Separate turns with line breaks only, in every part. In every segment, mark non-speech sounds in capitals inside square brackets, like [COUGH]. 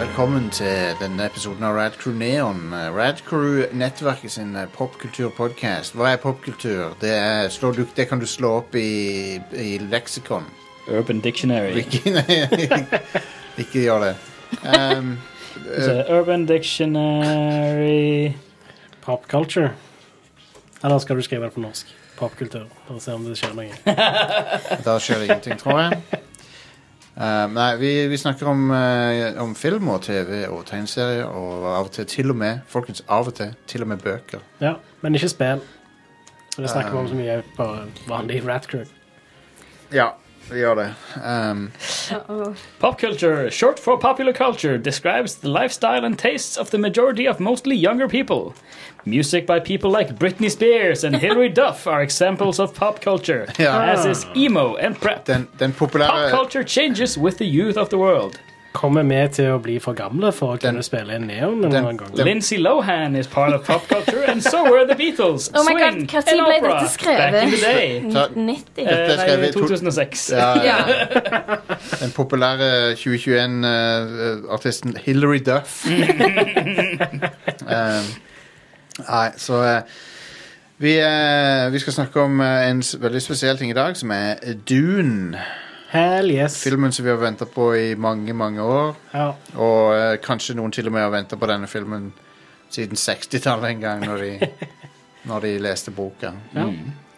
velkommen til denne episoden av Radcrew Neon. Eh, Radcrew-nettverket sin eh, popkulturpodcast. Hva er popkultur? Det, er, slå, du, det kan du slå opp i, i leksikon.
Urban Dictionary.
Ikke, [LAUGHS] nei, ikke gjør det. Um,
Så Urban Dictionary
Pop culture. Eller skal du skrive det på norsk? Popkultur. For å se om det skjer noe.
da skjer det ingenting, tror jeg. Um, nei, vi, vi snakker om, eh, om film og TV og tegneserier og av og til til og med folkens, av og til, til og med bøker.
Ja, Men ikke spill. Så det snakker vi om så mye på vanlig Rat Crew.
Ja, vi gjør det. Um,
Pop culture, short for popular culture, describes the lifestyle and tastes of the majority of mostly younger people. Music by people like Britney Spears and
[LAUGHS]
Hilary Duff are examples of pop culture,
Ja.
as is emo and prep.
den, den
Pop
populære
culture changes with the youth of the world.
Kommer vi til å bli for gamle for å
Den-
kunne spille inn neon en
den-
annen gang?
den-
Lindsay Lohan is part of pop culture, and so were the Beatles,
Oh my
swing,
God, hva tid
and
ble
opera
dette skrevet?
back in the day.
Ta-
1990.
Dette
Eh,
skrev
nei,
vi i to-
2006.
ja, ja.
Ja.
Den populære 2021-artisten Hilary Duff. Eh, Nei, så eh, vi, eh, vi skal snakke om eh, en s- veldig spesiell ting i dag, som er Dune.
Hell yes.
Filmen som vi har venta på i mange, mange år.
Ja.
Og eh, kanskje noen til og med har venta på denne filmen siden 60-tallet en gang, når de, når de leste boka.
Ja.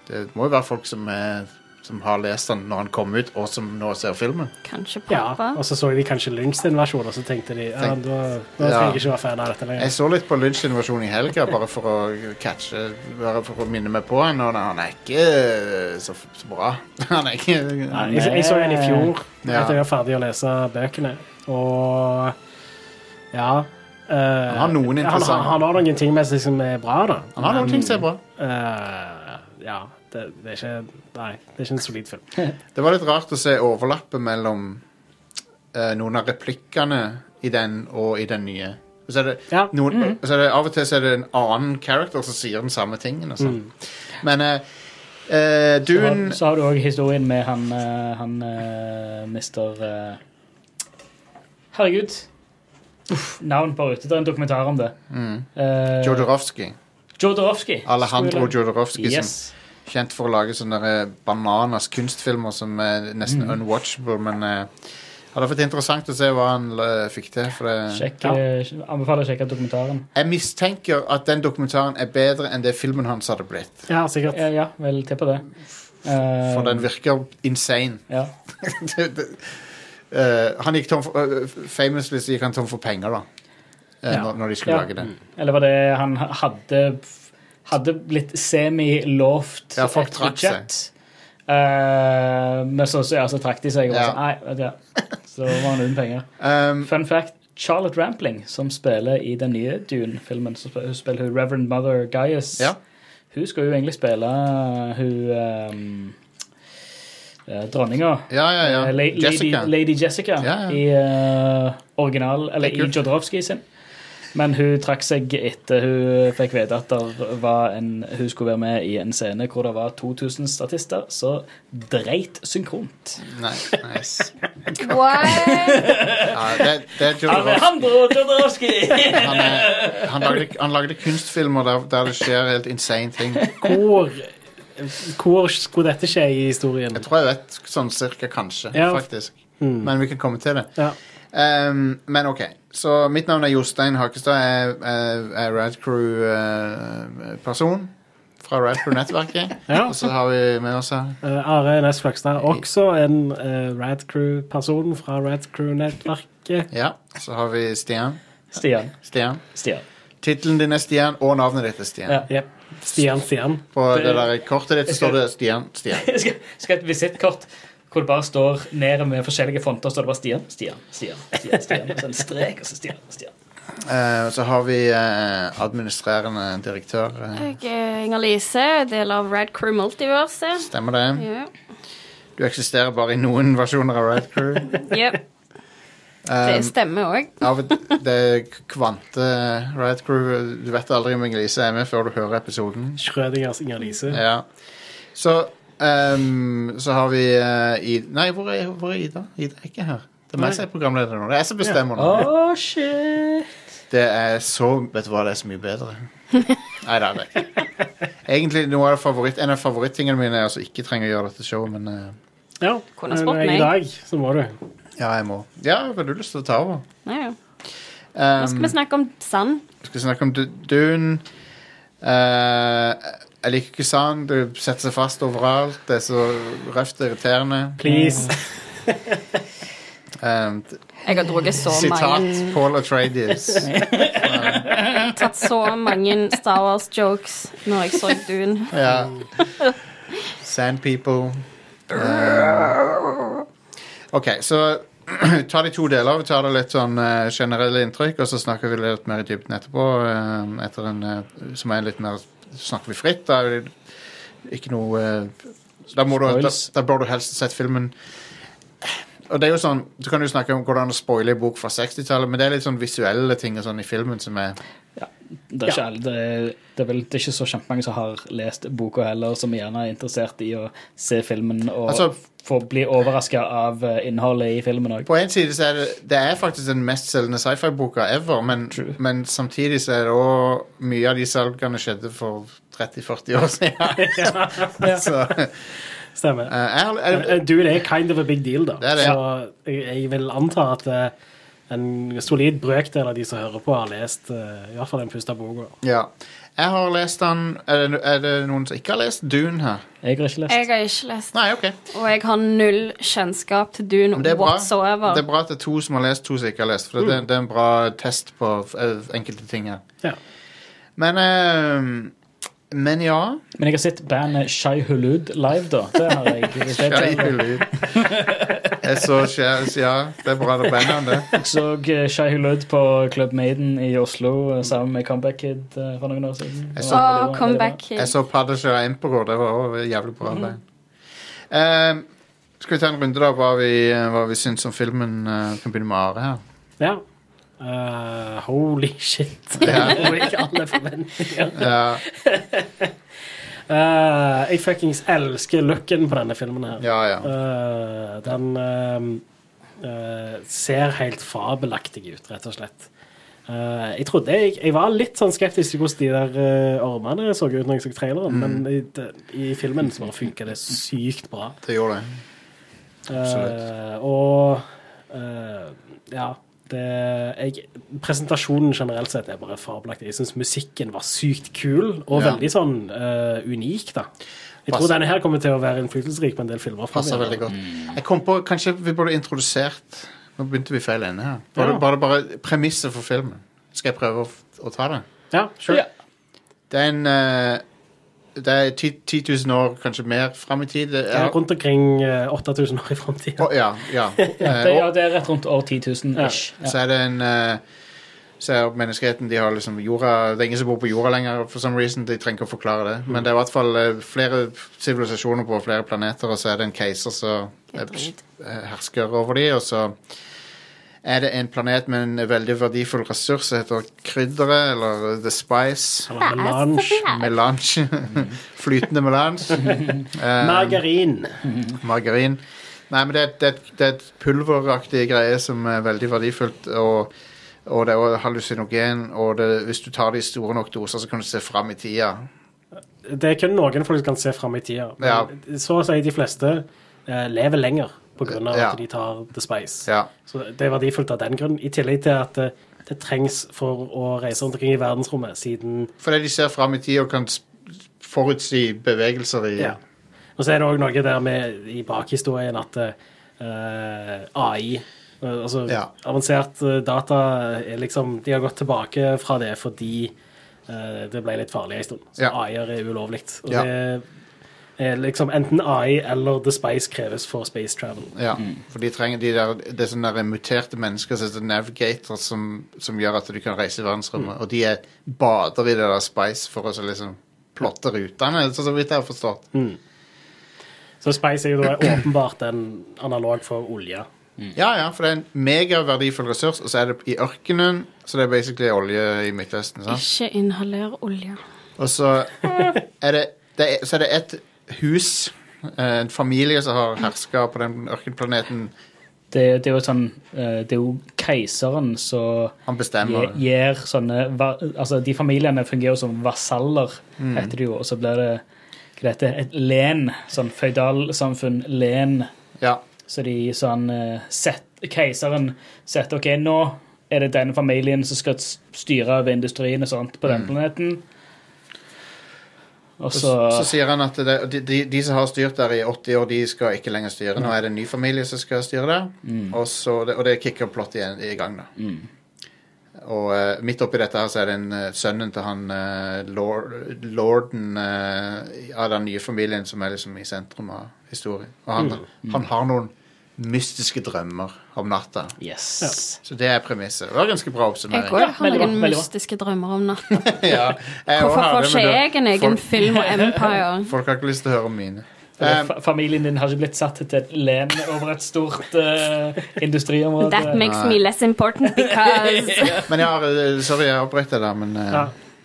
Det må jo være folk som, eh, som har lest den når den kom ut, og som nå ser filmen.
Kanskje
ja.
pappa.
Og så så de kanskje Lynch sin versjon, og så tenkte de ja,
Tenk-
da, da
Ja.
trenger jeg ikke være fan av dette lenger.
Jeg så litt på Lynch Innovasjon i helga, bare for å catche Bare for å minne meg på han, og han er ikke eh, så, f- så bra. [LAUGHS] Han er ikke
Jeg, jeg så en i fjor
Ja.
etter jeg var ferdig å lese bøkene, og ja eh,
har noen
han,
interessante-
han, han har noen ting med seg som er bra, da.
Han har noen ting som er bra.
Eh, ja, det, det er ikke Nei, det er ikke en solid film.
Det var litt rart å se overlappet mellom eh, noen av replikkene i den og i den nye. Og Så er det,
Ja.
noen,
Mm.
og så er det, av og til så er det en annen character som sier den samme tingen. Og sånn. Men eh, eh,
Så har,
Dune
Mm. så har du òg historien med han, eh, han eh, mister eh, Herregud. Uff, navn bare ute. Det er en dokumentar om det. Eh,
mm, Jodorowsky.
Jodorowsky.
Alejandro
Skulle-
Jodorowsky, som
Yes.
Kjent for å lage sånne der, eh, bananas kunstfilmer som er nesten
Mm.
unwatchable, men eh, det hadde vært interessant å se hva han eh, fikk til. For det.
Sjekk, eh, Anbefaler å sjekke dokumentaren.
Jeg mistenker at den dokumentaren er bedre enn det filmen hans hadde blitt.
Ja, sikkert.
Eh, Ja, ja vel, tipper det. Eh,
For den virker insane. [LAUGHS]
ja.
Det- det- eh, han gikk tom for, eh, famously så gikk han tom for penger, da. eh,
Ja.
Når, når de skulle
Ja.
lage det.
Eller var det han hadde Hadde blitt semi-lovt
Ja, folk
et
trakk
budsjett. Eh, men så, så, ja, så trakk de seg. Og
Ja.
ja. sånn, nei, vet du hva. Så var han uten penger.
Um,
Fun fact, Charlotte Rampling, som spiller i den nye Dune-filmen, så sp- hun spiller hun Reverend Mother Gaius.
Ja.
Hun skal jo egentlig spille uh, hun um, eh, dronninga.
ja, ja, ja.
Eh, La-
Jessica.
Lady, Lady Jessica
Ja, ja.
i eh, original, eller
Det er
i
kult.
Jodorowsky sin. Men hun trakk seg etter hun fikk vite at der var en, hun skulle være med i en scene hvor det var 2000 statister, så dreit synkront.
Nei, nice.
What?
Ja, det, det
[LAUGHS]
er Jodorowsky.
Alejandro
[LAUGHS]
Jodorowsky!
Han, er, han, lagde, han lagde kunstfilmer der, der det skjer helt insane ting.
Hvor, hvor skulle dette skje i historien?
Jeg tror jeg vet sånn cirka kanskje,
Ja.
faktisk. Men vi kan komme til det.
Ja.
Ehm, men OK. Så mitt navn er Jostein Hakestad. Jeg er, er Radcrew-person fra Radcrew-nettverket.
Ja.
Og så har vi med oss her
Eh, Are Næss Fløgstad, også en uh, Radcrew-person fra Radcrew-nettverket.
Ja, så har vi Stian.
Stian.
Stian.
Stian.
Tittelen din er Stian, og navnet ditt er Stian.
Ja.
Jep. Stian Stian.
På det
Det-
der kortet ditt så står det Stian. Stian.
[LAUGHS] Jeg skal, skal ha et visittkort hvor det bare står nede med forskjellige fonter står det bare Stian, Stian, Stian, Stian, Stian og så en strek, og så Stian, Stian.
Eh, så har vi eh, administrerende direktør. eh,
Jeg er Inger-Lise, del av Red Crew Multiverse.
Stemmer det?
Ja.
Du eksisterer bare i noen versjoner av Red
[LAUGHS]
Crew.
Yep. Det
Um,
stemmer òg.
av det er kvante Red Crew. Du vet aldri om Inger-Lise er med før du hører episoden.
Schrødingers Inger-Lise.
Ja. ehm, Så um, så har vi eh, I- Nei, hvor er, hvor er Ida? Ida er ikke her. Det er meg som er programleder nå. Det er jeg som bestemmer nå.
Åh, shit.
Det er så Vet du hva, det er så mye bedre. Nei da, det er ikke Egentlig noe av favoritt, en av favorittingene mine er altså ikke trenger å gjøre dette showet, men eh,
Ja,
Kunne spurt
men
meg.
I dag så må du.
ja, jeg må. Ja, har du lyst til å ta over?
Nei, ja.
Um,
Nå skal vi snakke om sand.
Vi skal snakke om Du- Dune. Eh, jeg liker ikke sand. Det setter seg fast overalt. Det er så røft og irriterende.
Please.
Mm.
[LAUGHS]
Um, t-
Jeg har drukket så mange
sitat Paul Atreides.
Tatt så mange Star Wars-jokes når jeg så Dune.
ja. Sand people. Um, OK, så [CLEARS THROAT] vi tar det i to deler. Vi tar det litt sånn eh, generelle inntrykk, og så snakker vi litt mer i dybden etterpå. eh, etter en, eh, som er litt mer Snakker vi fritt? Da er det ikke noe eh, så da, må du, da,
Spoils.
da bør du helst sett filmen Og det er jo sånn, Du kan jo snakke om hvordan å spoile en bok fra 60-tallet, men det er litt sånn visuelle ting og sånn i filmen som er
Det er, ikke, alle- det, er, det, er vel, det er ikke så kjempemange som har lest boka heller, som gjerne er interessert i å se filmen og
Altså-
få bli overraska av eh, innholdet i filmen òg.
På en side så er det det er faktisk den mest selgende sci-fi-boka ever, men,
True.
men samtidig så er det òg mye av de salgene skjedde for 30-40 år
[LAUGHS]
siden. [LAUGHS] så eh,
Stemmer.
jeg, har- jeg,
Men, eh, Dune er kind of a big deal, da.
Det er det.
Så jeg, jeg vil anta at eh, en solid brøkdel av de som hører på, har lest eh, i hvert fall den første boka.
ja. jeg har lest den er det, er det noen som ikke har lest Dune her?
Jeg har ikke lest.
Jeg har ikke lest,
Nei, OK.
og jeg har null kjennskap til Dune
Men det er bra.
whatsoever.
Det er bra at det er to som har lest, to som ikke har lest. For
Mm.
det, det er en bra test på eh, enkelte ting her.
Ja.
Men, eh, men ja
Men jeg har sett bandet Shai Hulud live, da. Det har jeg. Det er
Skei
ikke-
lyd.
[LAUGHS]
Jeg så skjæs, ja. Det er bra det bandet, det.
Jeg så eh, Shai Hulud på Club Maiden i Oslo eh, sammen med Comeback Kid eh, for noen år siden.
Jeg
Det
så-
Å,
var veldig bra,
come
veldig bra.
back
Jeg
hit.
så Padderskjær og Emperor. Det var også jævlig bra band. Eh, skal vi ta en runde, da, hva vi, hva vi syns om filmen? eh, kan begynne med Are her.
ja. Eh, holy shit.
Ja.
[LAUGHS] Det var ikke alle forventninger.
Ja,
Eh, jeg fuckings elsker looken på denne filmen her.
ja. ja.
Eh, den eh, eh, ser helt fabelaktig ut, rett og slett. Eh, jeg trodde jeg, jeg var litt sånn skeptisk til hvordan de der eh, ormene så ut når jeg så
Mm.
traileren, men i, det- i filmen så bare funker det sykt bra.
Det gjorde det.
Eh,
Absolutt.
og eh, ja det, jeg, Presentasjonen generelt sett er bare fabelaktig. Jeg syns musikken var sykt kul, og
Ja.
veldig sånn eh, unik, da. Jeg
Passer-
tror denne her kommer til å være innflytelsesrik på en del filmer.
Passer
fremover.
veldig godt. Jeg kom på, Kanskje vi burde introdusert Nå begynte vi feil ende her. Bare,
Ja.
bare, bare premisset for filmen. Skal jeg prøve å, f- å ta det?
Ja, sure.
Ja.
Det er en eh, Det er 10 000 år, kanskje mer, fram i tid. Det
Det er
er-
rundt omkring eh, 8000 år i framtida.
Å, ja, ja. Eh,
Det,
og-
ja, det er rett rundt år 10 000 ish. Ja.
Så er det en eh, Så er menneskeheten De har liksom jorda Det er ingen som bor på jorda lenger For some reason De trenger ikke å forklare det Men det er i hvert fall eh, flere sivilisasjoner på flere planeter Og så er det en keiser som eh,
drit.
eh, hersker over de Og så er det en planet med en veldig verdifull ressurs Som heter krydderet Eller eh, The Spice
Eller melange.
Melange [LAUGHS] Flytende melange Eh,
Margarin.
Margarin. Nei, men det, er et- det, er et- det er et pulveraktig greie som er veldig verdifullt, og, og det er også hallusinogen, og det, hvis du tar det i store nok doser, så kan du se fram i tida.
Det er kun noen folk som kan se fram i tida. Men
Ja.
Så å si de fleste eh, lever lenger pga. at
Ja.
de tar The Spice.
Ja.
Så det er verdifullt av den grunn. I tillegg til at eh, det trengs for å reise rundt omkring i verdensrommet, siden
Fordi de ser fram i tida og kan s- forutsi bevegelser i
ja. Og så er det òg noe der med i bakhistorien at eh, AI eh, Altså
Ja.
avansert eh, data er liksom De har gått tilbake fra det fordi eh, det ble litt farlig en stund. Så
Ja.
AI-er er ulovlig. Og
Ja.
det er liksom enten AI eller The Spice kreves for space travel.
Ja, for de trenger de der, det er sånne der muterte mennesker som heter navigators, som, som gjør at du kan reise i verdensrommet. Og de er bader i det der spice for å så liksom plotte rutene, sånn så så vidt jeg har forstått.
Så Spice er
[CLEARS THROAT]
jo da åpenbart en analog for olje.
Ja, ja, for det er en megaverdifull ressurs, og så er det i ørkenen, så det er basically olje i Midtøsten. sant?
Ikke inhaler olje.
Og så er det, det er, så er det et hus, eh, en familie som har herska på den ørkenplaneten
Det, det er jo sånn eh, Det er jo keiseren som
Han
gir,
bestemmer.
gir sånne va- Altså, de familiene fungerer jo som vasaller, heter det jo, og så blir det hva det heter Et len. Sånn føydalsamfunn. Len.
Ja.
Så de sånn eh, sett, Keiseren setter OK, nå er det denne familien som skal s- styre over industrien og sånt på den planeten. Og
Og s-
så,
Mm. så sier han at det, de, de, de som har styrt der i 80 år, de skal ikke lenger styre. Nå er det en ny familie som skal styre der. Og, så, og det kicker plott igjen i gang, da. Og eh, midt oppi dette her så er det en eh, sønnen til han eh, lord, lorden eh, av den nye familien som er liksom i sentrum av historien. Og han, han har noen mystiske drømmer om natta.
Yes.
Så det er premisset. Det var ganske bra
Jeg
oppsummering.
går,
Ja,
har
veldig bra,
noen
veldig bra.
mystiske drømmer om natta.
[LAUGHS] ja, jeg også
Hvorfor
har
får
det, men det-
ikke jeg en egen
folk,
film om Empire?
folk har ikke lyst til å høre om mine.
Eller
Um,
fa- familien din har ikke blitt satt til et len over et stort
[LAUGHS]
eh, industriområde.
[LAUGHS] That makes me less important because
[LAUGHS] Men jeg har, eh, sorry, jeg avbrøt deg der, men eh,
Ja.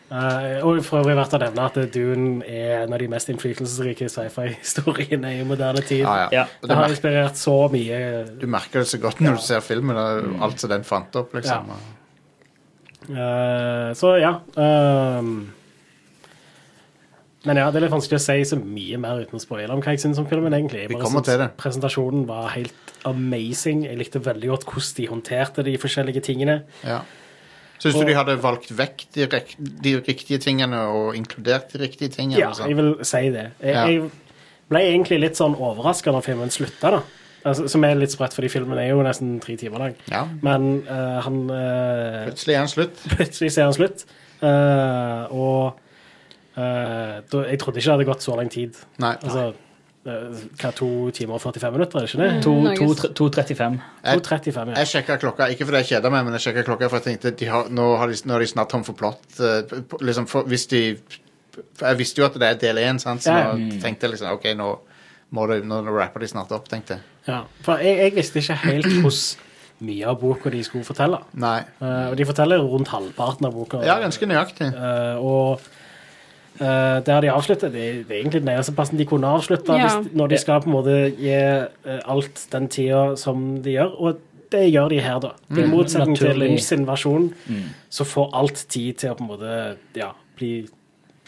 Eh, og for øvrig verdt å nevne at Dune er en av de mest innflytelsesrike sci-fi-historiene i moderne tid.
ja, ja.
Ja.
Og
Det
Det
har
mer,
inspirert så mye.
du merker det så godt når du ser filmen, og alt som den fant opp, liksom.
Mm. Ja.
Og-
Eh, så ja. ehm. men ja, det er litt vanskelig å si så mye mer uten å spoile om hva jeg syns om filmen. egentlig. Jeg
Vi
bare
kommer
synes
til det.
Presentasjonen var helt amazing. Jeg likte veldig godt hvordan de håndterte de forskjellige tingene.
Ja. Syns du de hadde valgt vekk de, rek de riktige tingene og inkludert de riktige tingene?
Ja,
og sånn?
jeg vil si det. Jeg,
Ja.
jeg ble egentlig litt sånn overraska når filmen slutta, da. Altså, som er litt sprøtt, fordi filmen er jo nesten tre timer lang.
ja.
Men eh, han eh,
Plutselig er den slutt.
Plutselig ser han slutt. Eh, og eh, da, jeg trodde ikke det hadde gått så lang tid.
Nei.
Altså eh, hva, to timer og 45 minutter, er det ikke det? To-
To-
Norges-
to tre- 2.35.
2.35, ja.
Jeg sjekka klokka, ikke fordi jeg kjeder meg, men jeg sjekket klokka for jeg tenkte de har, nå, har de, nå er de snart tom for plott. eh, p- p- liksom, for, hvis de for Jeg visste jo at det er del én, sant, så
Ja. Mm.
nå tenkte jeg liksom OK, nå, må du, nå rapper de snart opp, tenkte jeg.
ja. For jeg, jeg visste ikke helt hvordan mye av boka de skulle fortelle.
Nei.
Eh, og de forteller rundt halvparten av boka.
Ja, ganske nøyaktig.
Eh, og eh, der de avslutter, det, det er egentlig den eneste plassen de kunne avslutte
Ja.
hvis, når de skal på en måte gi eh, alt den tida som de gjør. Og det gjør de her, da. I motsetning til
naturlig.
Lynch sin versjon, så får alt tid til å på en måte ja, bli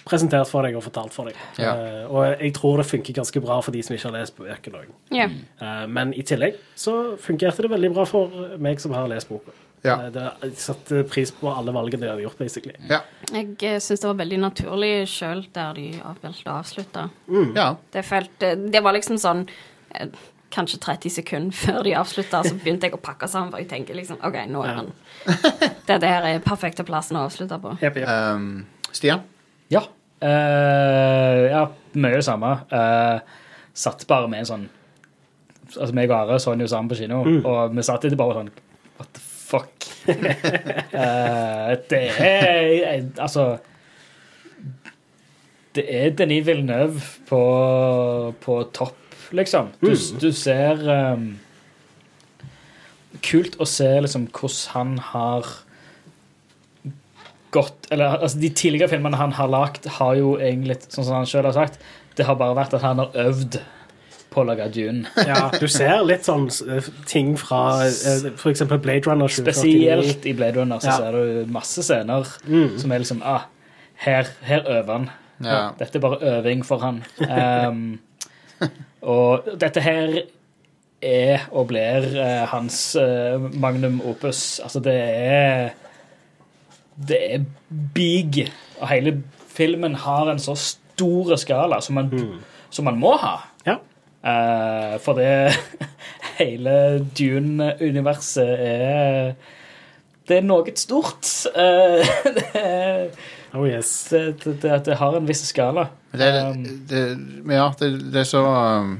presentert for deg og fortalt for deg.
Ja.
Eh, og jeg tror det funker ganske bra for de som ikke har lest bøkene òg.
Ja.
Eh, Men i tillegg så fungerte det veldig bra for meg som har lest boka.
Ja.
Eh, Det, jeg satte pris på alle valgene de hadde gjort, basically.
Ja.
Jeg syns det var veldig naturlig sjøl der de valgte å avslutte.
ja.
Det, følte, det var liksom sånn eh, Kanskje 30 sekunder [LAUGHS] før de avslutta, så begynte jeg å pakke sammen. For jeg tenker liksom OK, nå er han [LAUGHS] Dette her er perfekte plassen å avslutte på.
Jepp, jepp.
Um, Stian?
Ja. Eh, ja, mye det samme. Eh, satt bare med en sånn Altså, meg og Are så den jo sammen på kino, og vi satt etter bare sånn What the fuck? [LAUGHS] Eh, det er eh, Altså Det er Denis Villeneuve på, på topp, liksom. Du, du ser ehm, Kult å se liksom hvordan han har godt Eller altså, de tidligere filmene han har lagd, har jo egentlig, sånn som han sjøl har sagt, det har bare vært at han har øvd på å lage Dune.
Ja, du ser litt sånn eh, ting fra eh, for eksempel Blade Runner 2049.
Spesielt i Blade Runner så
Ja.
ser du masse scener som er liksom ah, her, her øver han.
Ja.
Dette er bare øving for han. Ehm, og dette her er og blir eh, hans eh, magnum opus. Altså, det er Det er big. Og hele filmen har en så stor skala som man, som man må ha.
Ja.
Eh, for det [LAUGHS] Hele Dune-universet er Det er noe stort. Eh, [LAUGHS] det, er-
Oh yes.
det, det, det, det har en viss skala.
Det,
Um,
det, men ja, det, det er så um,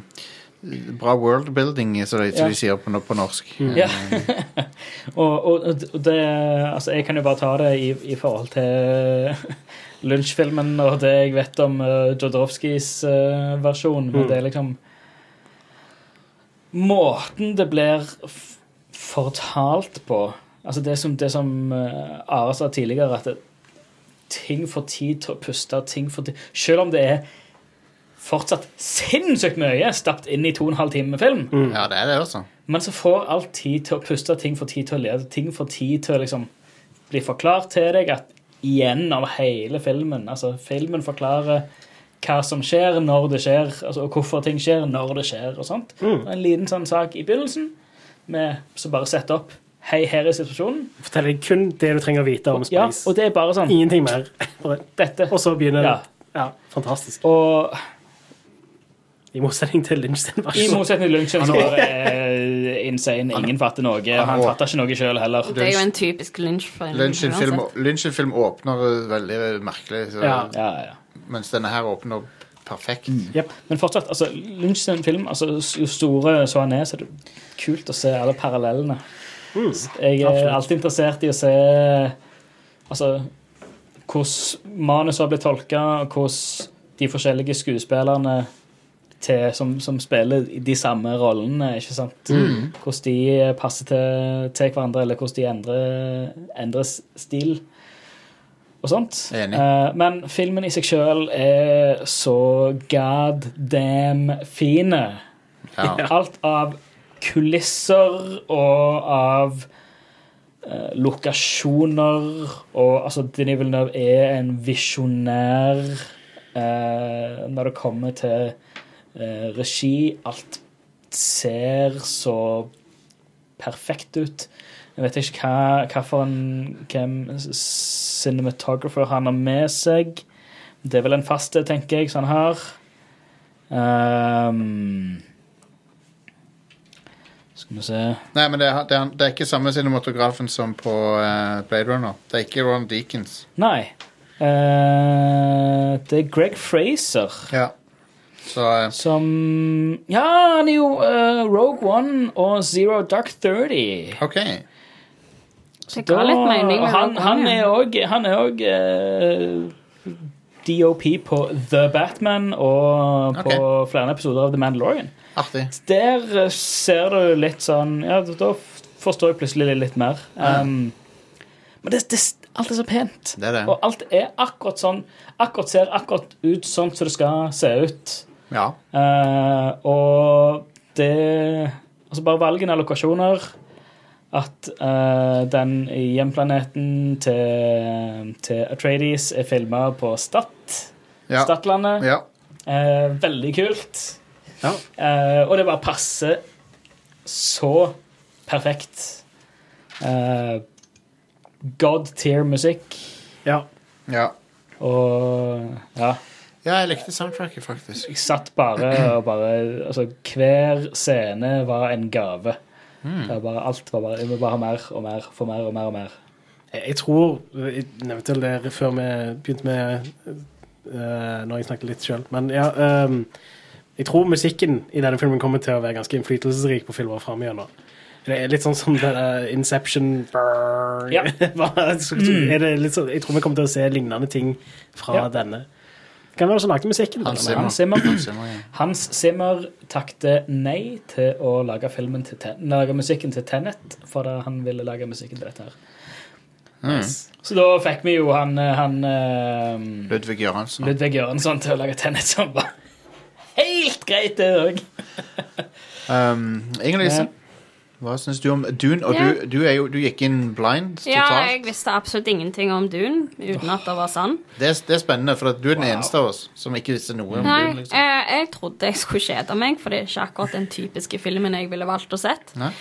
bra worldbuilding, som de, som de sier på, no- på norsk.
Ja. [LAUGHS] og, og, og det Altså, jeg kan jo bare ta det i, i forhold til eh, [LAUGHS] lunsjfilmen og det jeg vet om uh, Jodorowskys eh, versjon, men det er liksom Måten det blir f fortalt på Altså det som, det som eh, Are sa tidligere, at det, ting får tid til å puste, ting får tid Selv om det er fortsatt sinnssykt mye stappet inn i to og en halv time med film,
Mm. Ja, det altså. er det også.
Men så får alt tid til å puste, ting får tid til å lede, ting får tid til å liksom bli forklart til deg at igjen over hele filmen. Altså, filmen forklarer hva som skjer, når det skjer, altså, og hvorfor ting skjer, når det skjer, og sånt.
Mm.
Og en liten sånn sak i begynnelsen, med, så bare sette opp, hei, her er situasjonen.
Fortell deg kun det du trenger å vite om
Ja,
space.
og det er bare sånn,
Ingenting mer. Bare-
dette.
Og så begynner
Ja.
det. Ja, fantastisk.
Og
I motsetning til Lynch sin
i
versjon.
motsetning til Lundsen, som bare er insane. Ingen fatter noe. Han fatter ikke noe selv heller.
Det er jo en typisk Lynch-film.
Lunsjen-film
uansett.
Lunsjen-film åpner eh, veldig merkelig, så,
Ja.
Ja, ja.
mens denne her åpner perfekt.
Jep.
Men fortsatt, altså, Lynch sin film altså, Jo store så han er, så er det kult å se alle parallellene. Jeg er
Mm. absolutt.
alltid interessert i å se altså, hvordan manuset har blitt tolka, og hvordan de forskjellige skuespillerne til, som, som spiller de samme rollene, ikke sant? hvordan de passer til, til hverandre, eller hvordan de endrer, endrer stil og sånt.
Enig.
Eh, men filmen i seg sjøl er så god damn fine.
Ja.
[LAUGHS] Alt av kulisser og av eh, lokasjoner og altså Denis Villeneuve er en visjonær eh, når det kommer til eh, regi. Alt ser så perfekt ut. Jeg vet ikke hva, hva for en hvem cinematographer han har med seg. Det er vel en fast, tenker jeg, som han har. Ehm, skal vi se
Nei, men det er, det, er, det er ikke samme cinematografen som på eh, Blade Runner. Det er ikke Ron Deakins.
Nei. Eh, det er Greg Fraser
Ja. Så eh,
som Ja, han er jo eh, Rogue One og Zero Dark 30.
OK.
Det ga litt mening.
og
med
han,
Rogue
han
One,
er
ja.
også- han er eh, òg DOP på The Batman og på
Ok.
flere episoder av The Mandalorian.
Artig.
Der eh, ser du litt sånn Ja, da f- forstår jeg plutselig litt mer. Um, Men det, det, alt er så pent.
Det er det.
Og alt er akkurat sånn. Akkurat ser akkurat ut sånn som det skal se ut.
Ja.
Eh, og det Altså bare valgen av lokasjoner. At eh, den hjemplaneten til, til Atreides er filma på Stad.
Ja.
Stadlandet.
ja.
Eh, veldig kult.
Ja.
Eh, og det bare passer så perfekt. Eh, God tier-musikk
Ja.
ja.
og Ja.
Ja, jeg likte soundtracket, [CLEARS THROAT] faktisk.
Jeg satt bare og bare Altså, hver scene var en gave. Det var bare, alt var bare Vi må bare ha mer og mer, få mer og mer og mer.
Jeg jeg tror Jeg nevnte vel det før vi begynte med eh, Når jeg snakket litt sjøl, men ja ehm, Jeg tror musikken i denne filmen kommer til å være ganske innflytelsesrik på filmer framover. Det er litt sånn som det der Inception
[LAUGHS] Ja.
[LAUGHS]
Mm.
Hva- så- så er det litt sånn, Jeg tror vi kommer til å se lignende ting fra
Ja.
denne. Hvem var det som lagde musikken?
Hans
da?
Zimmer.
Hans Zimmer,
Zimmer, ja.
Hans Zimmer takte nei til å lage, filmen til Ten, lage musikken til Tenet, for da han ville lage musikken til dette her.
Mm.
Så da fikk vi jo han, eh, han eh,
Ludvig Göransson.
Ludvig Göransson til å lage Tenet som var [LAUGHS] helt greit, det òg.
Um, Inger-Lise, hva syns du om Dune? Og
Ja.
du, du, er jo, du gikk inn blind
Ja,
totalt.
jeg visste absolutt ingenting om Dune uten at det var sann.
Det, er- det er spennende, for at du er den
Wow.
eneste av oss som ikke visste noe om
Nei,
Dune.
eh,
Liksom.
jeg trodde jeg skulle kjede meg, for det er ikke akkurat den typiske filmen jeg ville valgt å sett.
Nei?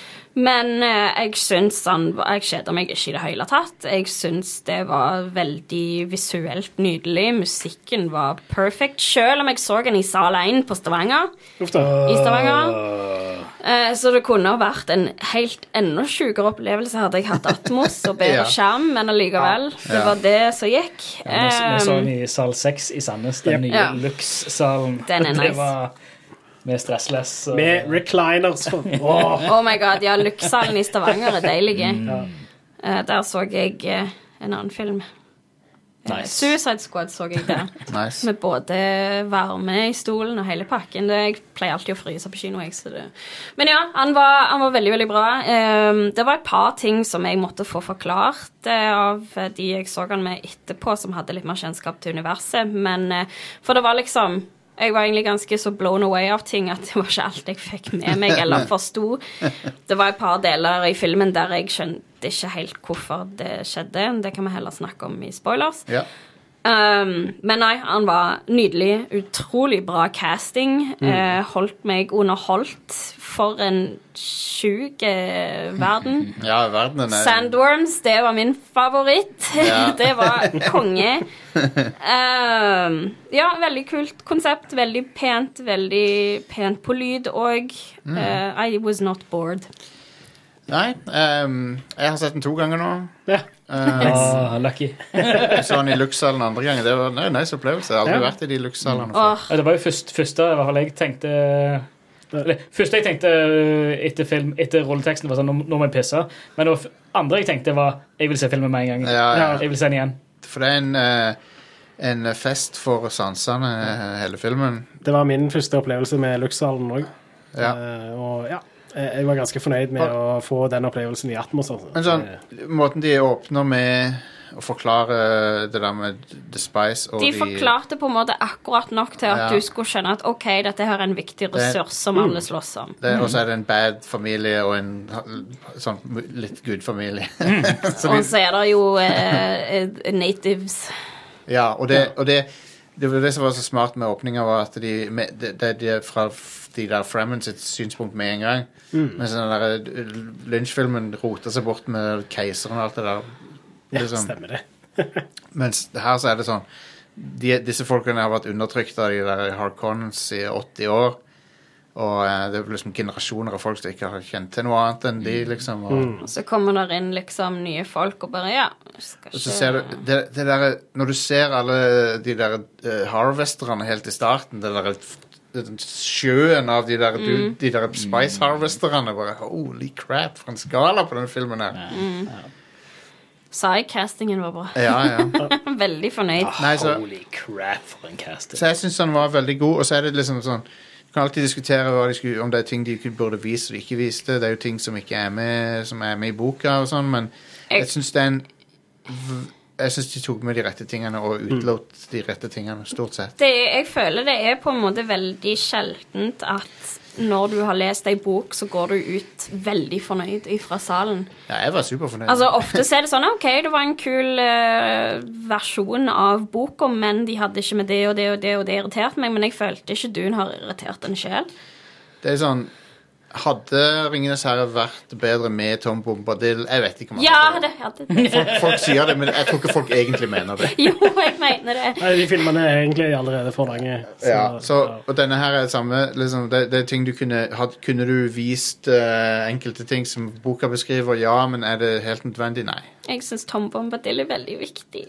Men eh, jeg syns han Jeg kjeder meg ikke i det hele tatt. Jeg syns det var veldig visuelt nydelig. Musikken var perfect, selv om jeg så den i sal 1 på Stavanger.
Uff da.
I Stavanger. Eh, Så det kunne ha vært en helt enda sjukere opplevelse hadde jeg hatt Atmos og bedre
[LAUGHS] Ja.
skjerm, men allikevel. Det
Ja.
var det som gikk.
Ja, vi, vi så
Eh,
han i sal 6 i Sandnes, den nye
Ja.
Lux-salen.
Den er
[LAUGHS] Det
nice.
var med stressless. Og,
Med recliners.
[LAUGHS]
Åh.
[LAUGHS] Oh my god, ja, Luxhallen i Stavanger er deilig. Eh, der så jeg eh, en annen film. Eh,
Nice.
Suicide Squad så jeg der.
Nice.
Med både varme i stolen og hele pakken. Det, jeg pleier alltid å fryse på kino. Jeg, så det. Men ja, han var, han var veldig, veldig bra. Ehm, det var et par ting som jeg måtte få forklart eh, av de jeg så han med etterpå, som hadde litt mer kjennskap til universet. Men, eh, for det var liksom Jeg var egentlig ganske så blown away av ting at det var ikke alt jeg fikk med meg eller forsto. Det var et par deler i filmen der jeg skjønte ikke helt hvorfor det skjedde. Det kan vi heller snakke om i spoilers.
Ja.
Um, men nei, han var nydelig. Utrolig bra casting.
Mm.
Eh, holdt meg underholdt. For en sjuk eh,
[LAUGHS]
verden.
ja, verden er
Sandworms, det var min favoritt. [LAUGHS]
Ja.
det var
[LAUGHS]
konge. Um, ja, veldig kult konsept. Veldig pent. Veldig pent på lyd og
Mm.
eh, I was not bored.
Nei. ehm, jeg har sett den to ganger nå.
Ja.
[LAUGHS]
Eh,
Ah, lucky.
jeg så den i Lux-salen andre gangen. Det var en nice opplevelse. Jeg har aldri
Ja.
vært i de Lux-salene før.
Åh,
Ja, Det var jo først, første i hvert fall jeg tenkte eller, Første jeg tenkte øh, etter, film, etter rolleteksten, var sånn Nå nå må jeg pisse. Men det var f- andre jeg tenkte, var Jeg vil se filmen med en gang.
Ja, ja.
Jeg vil se den igjen.
For det er en, eh, en fest for sansene, eh, hele filmen.
Det var min første opplevelse med Luxhallen òg.
Ja.
og ja, jeg jeg var ganske fornøyd med å få den opplevelsen i altså. atmosfæren.
Men sånn, måten de åpner med å forklare det der med The Spice og
de forklarte på en måte akkurat nok til at
Ja. Mm.
du skulle skjønne at OK, dette her er en viktig ressurs som alle slåss om.
det, Og så er det en bad familie og en ha- sånn litt good familie. [LAUGHS] så
Og
de,
så er det jo eh, eh, natives.
ja, og det, og det det var det som var så smart med åpninga, var at de med, det, det, det er fra f- de der Frammen sitt synspunkt med en gang. Mens den der Lynch-filmen roter seg bort med keiseren og alt det der.
ja,
liksom.
stemmer det.
Mens her så er det sånn de, Disse folkene har vært undertrykt av de der Harkonnens i 80 år. Og eh, det er liksom generasjoner av folk som ikke har kjent til noe annet enn de, liksom. Og,
Og så kommer der inn liksom nye folk og bare Ja, jeg skal
og så ser
ikke
du det, det der, Når du ser alle de der eh, harvesterne helt i starten, det der den sjøen av de der, du, de der Spice Harvesterne bare Holy crap, for en skala på den filmen her!
Sidecastingen var bra.
Ja, ja.
[LAUGHS] Veldig fornøyd.
Nei, så-
Holy crap, for en casting.
Så jeg syns han var veldig god. Og så er det liksom sånn Du kan alltid diskutere hva de skulle, om det er ting de ikke burde vise og ikke viste. Det er jo ting som ikke er med, som er med i boka og sånn, men jeg syns det er en v- Jeg syns de tok med de rette tingene og utelot de rette tingene, stort sett.
Det, er- jeg føler det er på en måte veldig sjeldent at når du har lest ei bok, så går du ut veldig fornøyd ifra salen.
Ja, jeg var superfornøyd.
Altså, Ofte så er det sånn OK, det var en kul eh, versjon av boka, men de hadde ikke med det og det og det, og det irriterte meg, men jeg følte ikke Dune har irritert en sjel.
det er sånn Hadde 'Ringenes herre' vært bedre med Tom Bombadil? Jeg vet ikke om han
Ja,
hadde
det hadde det. [LAUGHS]
det. Folk sier det, men jeg tror ikke folk egentlig mener det.
Jo, jeg mener det.
Nei, de filmene er egentlig allerede for lange. Så,
Ja, så, og denne her er det samme liksom, det, det er ting du kunne had, Kunne du vist eh, enkelte ting som boka beskriver, ja, men er det helt nødvendig? Nei.
Jeg syns Tom Bombadil er veldig viktig.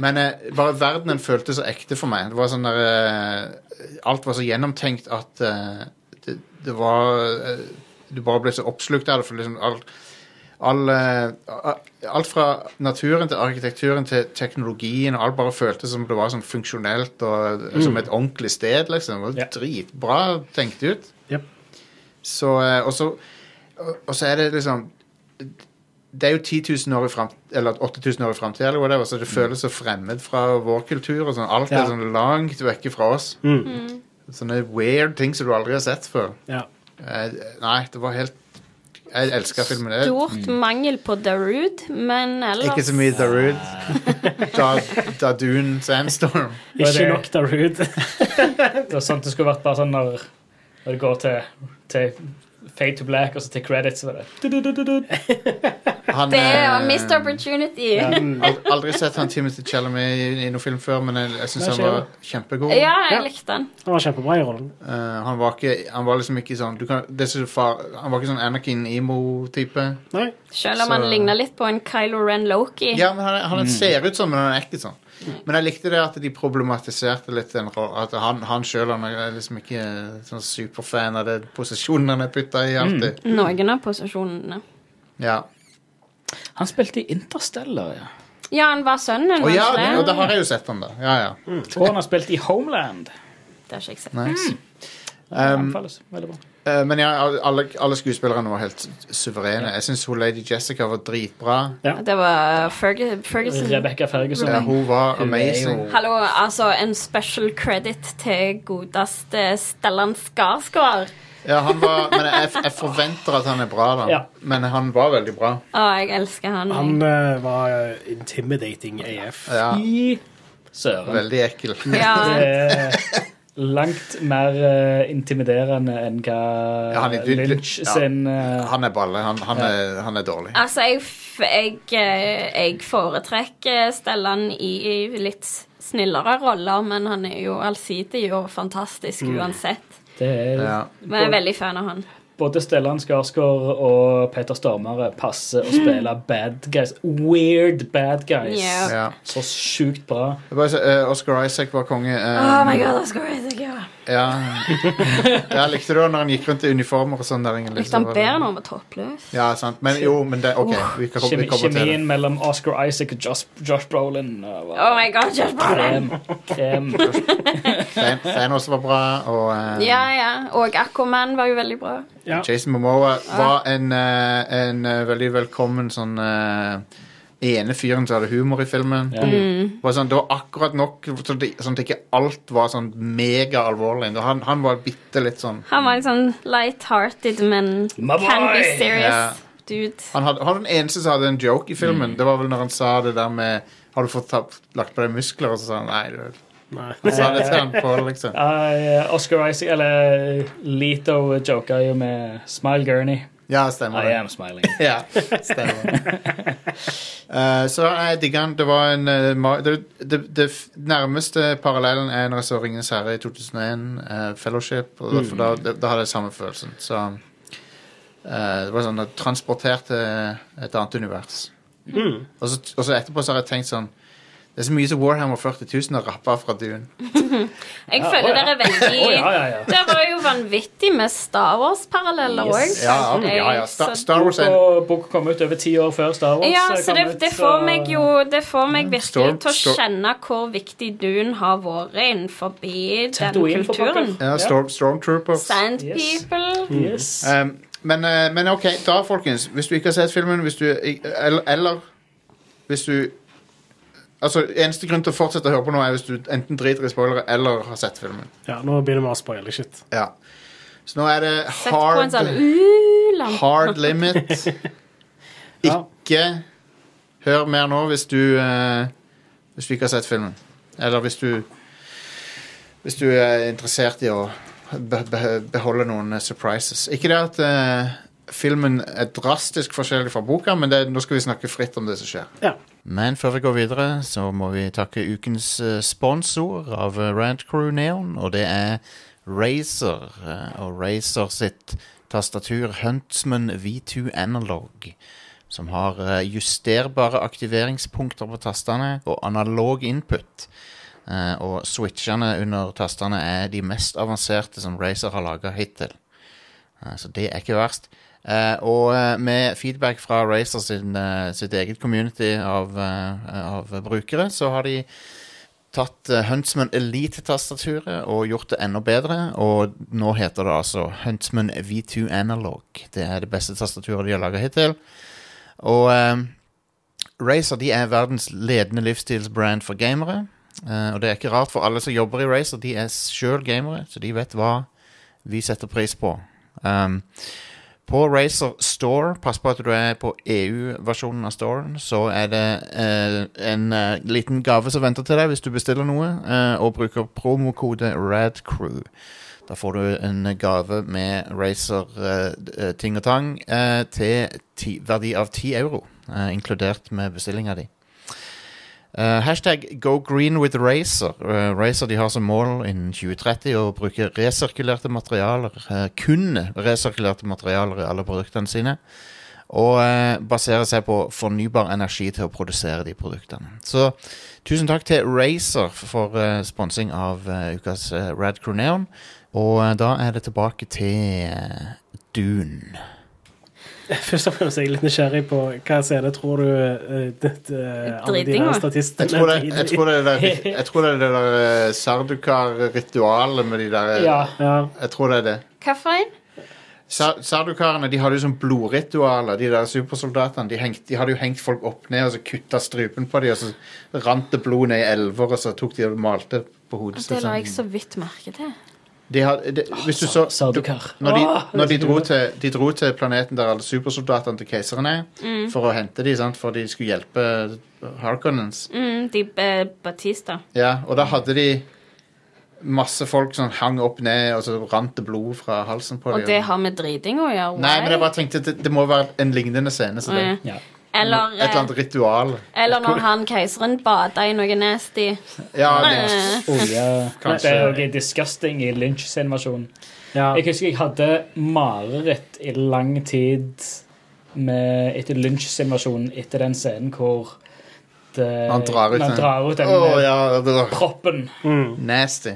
Men eh, bare verdenen føltes så ekte for meg. Det var sånn der eh, Alt var så gjennomtenkt at eh, det, det var eh, Du bare ble så oppslukt av det, for liksom alt all, eh, a- alt fra naturen til arkitekturen til teknologien og alt bare føltes som det var sånn funksjonelt og som et ordentlig sted, liksom. Det var
Ja.
Dritbra tenkt ut.
Jep.
Så, eh, og, så, og- og så er det liksom Det er jo 10 000 år i frem, eller 8000 år i framtida, eller whatever, så det føles så fremmed fra vår kultur. og sånn. Alt er
Ja.
sånn langt vekke fra oss. Sånne weird ting som du aldri har sett før.
Ja.
Eh, nei, det var helt Jeg elska filmen. Jeg,
Stort mangel på Darude, men ellers
ikke så mye sånn, Darude. Da, Dadun Sandstorm.
Var
Ikke
det-
nok [LAUGHS] Darude.
Det var sånn det skulle vært bare sånn når, når det går til, til Fade to black og så til credits. Så var det. du-du-du-du-du.
Han,
Det er
eh,
missed opportunity.
Ja.
ald- Aldri sett han Timothy Chalamet i, i noen film før, men jeg, jeg syns
Nei,
han var kjempegod.
[LAUGHS] Ja, jeg
Ja.
likte den.
Han var kjempebra i rollen.
Eh, han, var ikke, han var liksom ikke sånn du kan, det som far, Han var ikke sånn Anakin Emo-type.
Nei.
Selv om
Så-
han ligna litt på en Kylo Ren Loki.
Ja, men han, han ser ut sånn, men han er ikke sånn. Men jeg likte det at de problematiserte litt den ro- At han, han sjøl er liksom ikke sånn superfan av den posisjonen han er putta i alltid.
Noen av posisjonene.
Ja.
Han spilte i Interstellar, ja.
Ja, han var sønnen,
Og ja,
var
det, og
ikke Mm.
da har jeg jo sett han, da. Ja, ja.
Og han har spilt i Homeland.
det? Det har ikke jeg sett.
Nice. Um,
Det anbefales. Veldig bra.
Eh, Men ja, alle, alle skuespillerne var helt suverene. Jeg syns Lady Jessica var dritbra.
Ja.
Det var Ferg Ferguson.
Rebecca Ferguson.
Ja, hun var
Hun er
amazing.
jo-
Hallo, altså en special credit til godeste Stellan Skarsgård.
Ja, han var, men jeg, jeg forventer at han er bra, da.
Ja.
Men han var veldig bra.
Å, jeg elsker han.
Han eh, var eh, intimidating AF.
Ja,
I søren.
veldig ekkel.
Ja,
Det er langt mer eh, intimiderende enn hva
Ja, han er litt-
Lynch
ja.
sin eh,
Han er balle. Han, han, er, han er dårlig.
altså jeg, f- jeg, eh, jeg foretrekker Stellan i, i litt snillere roller, men han er jo allsidig og fantastisk
Mm.
uansett.
Det er
Ja.
Men jeg er veldig fan av han.
Både Stellan Skarsgård og Peter Stormare passer å spille bad guys. Weird bad guys.
Ja.
Ja.
Så sjukt bra.
Det var, så- eh, Oscar Isaac var konge. eh,
Oh my god, Oscar Isaac, ja.
ja. ja, likte du når han gikk rundt i uniformer og sånn? der, Ingrid?
Likte han
Det var-
bedre når han var toppløs?
Ja, sant. Men jo, men det, OK. Vi kan, vi
Kjemi,
kommer til det.
kjemien mellom Oscar Isaac og Josh, Josh Brolin uh,
Oh
var
my god, Josh Brolin!
krem. krem.
Thanos- Thanos var bra, og eh,
Ja, ja. Og Aquaman var jo veldig bra.
Ja.
Jason Momoa var en, eh, en eh, veldig velkommen sånn eh, ene fyren som hadde humor i filmen.
Ja.
Var sånn, det var akkurat nok sånn at sånn at ikke alt var sånn megaalvorlig. Han, han var bitte litt sånn
Han var en sånn light-hearted, men
My
can be
boy!
Ja.
serious dude.
Han, hadde, han var den eneste som hadde en joke i
Mm.
filmen. Det var vel når han sa det der med Har du fått tapp, lagt på deg muskler? Og så sa han
[LAUGHS]
nei. Du,
Nei.
sa det til han på, liksom.
Uh, Oscar Isaac, eller Lito, joker jo med Smile Gurney.
Ja, stemmer
I
det.
am smiling.
Ja, stemmer. Eh, så jeg digger han. Det var en eh, ma- det, det, det f- nærmeste parallellen er når jeg så 'Ringenes herre' i 2001, eh, 'Fellowship'. Og da, for da, da, da hadde jeg samme følelsen. Så eh, det var sånn at transporterte et annet univers. Og, så, og så etterpå så har jeg tenkt sånn Det er så mye som Warhammer 40 000 har rappa fra Dune.
Jeg
Ja,
føler
å, ja.
dere er veldig
Å, ja, ja, ja.
Det var jo vanvittig med Star Wars-paralleller òg.
Yes.
Ja,
Sånn.
ja, ja. Star, Star Wars er en
Boka boka kom ut over ti år før Star Wars.
ja,
eh,
så
kom
det,
ut,
det
så-
får meg jo Det får meg
Storm-
virkelig til å
Storm-
kjenne hvor viktig Dune har vært innenfor den
Tatooine for
kulturen.
pokker.
ja, Storm, Stormtroopers.
Sand
Yes. Mm.
people.
Yes.
Um, men, eh, men ok, da folkens Hvis du ikke har sett filmen hvis du, eller, eller hvis du Altså, eneste grunn til å fortsette å høre på nå Er hvis du enten driter i spoilere Eller har sett filmen
Ja, nå begynner vi å spoile shit. [LAUGHS]
ja. Så nå er det
Sett på en
hard,
sånn u-lampe.
hard limit
[LAUGHS] Ja.
Ikke Hør mer nå hvis du eh, Hvis du ikke har sett filmen Eller hvis du Hvis du er interessert i å be be Beholde noen eh, surprises Ikke det at eh, filmen er drastisk forskjellig fra boka Men det, nå skal vi snakke fritt om det som skjer
Ja.
men før vi går videre, så må vi takke ukens eh, sponsor av eh, Rant Crew Neon, og det er Razer. eh, Og Razer sitt tastatur Huntsman V2 Analog, som har eh, justerbare aktiveringspunkter på tastene og analog input. Eh, Og switchene under tastene er de mest avanserte som Razer har laga hittil. Eh, Så det er ikke verst. Eh, og eh, med feedback fra Razer sin, eh, sitt eget community av, eh, av brukere, så har de tatt eh, Huntsman Elite-tastaturet og gjort det enda bedre. Og nå heter det altså Huntsman V2 Analog. Det er det beste tastaturet de har laga hittil. Og eh, Razer de er verdens ledende livsstilsbrand for gamere. Eh, og det er ikke rart, for alle som jobber i Razer, de er sjøl gamere, så de vet hva vi setter pris på. Um, på Razer Store, pass på at du er på EU-versjonen av storen, så er det eh, en eh, liten gave som venter til deg hvis du bestiller noe eh, og bruker promokode RADCREW. Da får du en gave med Razer-ting og tang eh, til ti, verdi av 10 euro, eh, inkludert med bestillinga di. Eh, hashtag go green with Razer. Eh, Razer de har som mål innen 2030 å bruke resirkulerte materialer. eh, kun resirkulerte materialer i alle produktene sine. Og eh, basere seg på fornybar energi til å produsere de produktene. Så tusen takk til Razer for eh, sponsing av eh, ukas eh, Rad Crew Neon. Og eh, da er det tilbake til eh, Dune.
Først og fremst er jeg litt nysgjerrig på hva scene tror du eh, det, det, alle de
Driting,
der
da.
statistene
Jeg tror det,
driter i?
jeg tror det er det der, jeg tror det er det der eh, Sardukar-ritualet med de der eh,
ja.
Ja.
Jeg tror det er det.
Hva for en?
Sa- Sardukarene de hadde jo sånn blodritualer. De der supersoldatene de, hengte, de hadde jo hengt folk opp ned og så kutta strupen på dem. Og så rant det blod ned i elver, og så tok de og malte på hodet.
Det
sitt,
la
sånn.
jeg så vidt merke til.
de hadde, de, hvis du så,
Sadukar.
når de,
Ah,
når de, dro, til, de dro til planeten der alle supersoldatene til keiseren er,
Mm.
for å hente dem, sant? for de skulle hjelpe Harkonnens.
Mm, de eh, Batista.
Ja, og da hadde de masse folk som hang opp ned, og så rant det blod fra halsen på
Og
dem.
det har med driting å gjøre.
Nei, men jeg
why?
bare tenkte at det, det må være en lignende scene. Så
Å,
det,
Ja.
ja. Mm. Eller,
Et eller annet ritual.
eh, eller når han keiseren bada i noe nasty.
Ja, det,
Eh,
Olje
Kanskje.
Det er jo ikke disgusting i Lynch-animasjonen.
Ja.
Jeg husker jeg hadde mareritt i lang tid med, etter Lynch-animasjonen, etter den scenen hvor det,
Han drar ut
når han
den.
drar ut den
Å
med
ja, det var
proppen.
Mm.
nasty.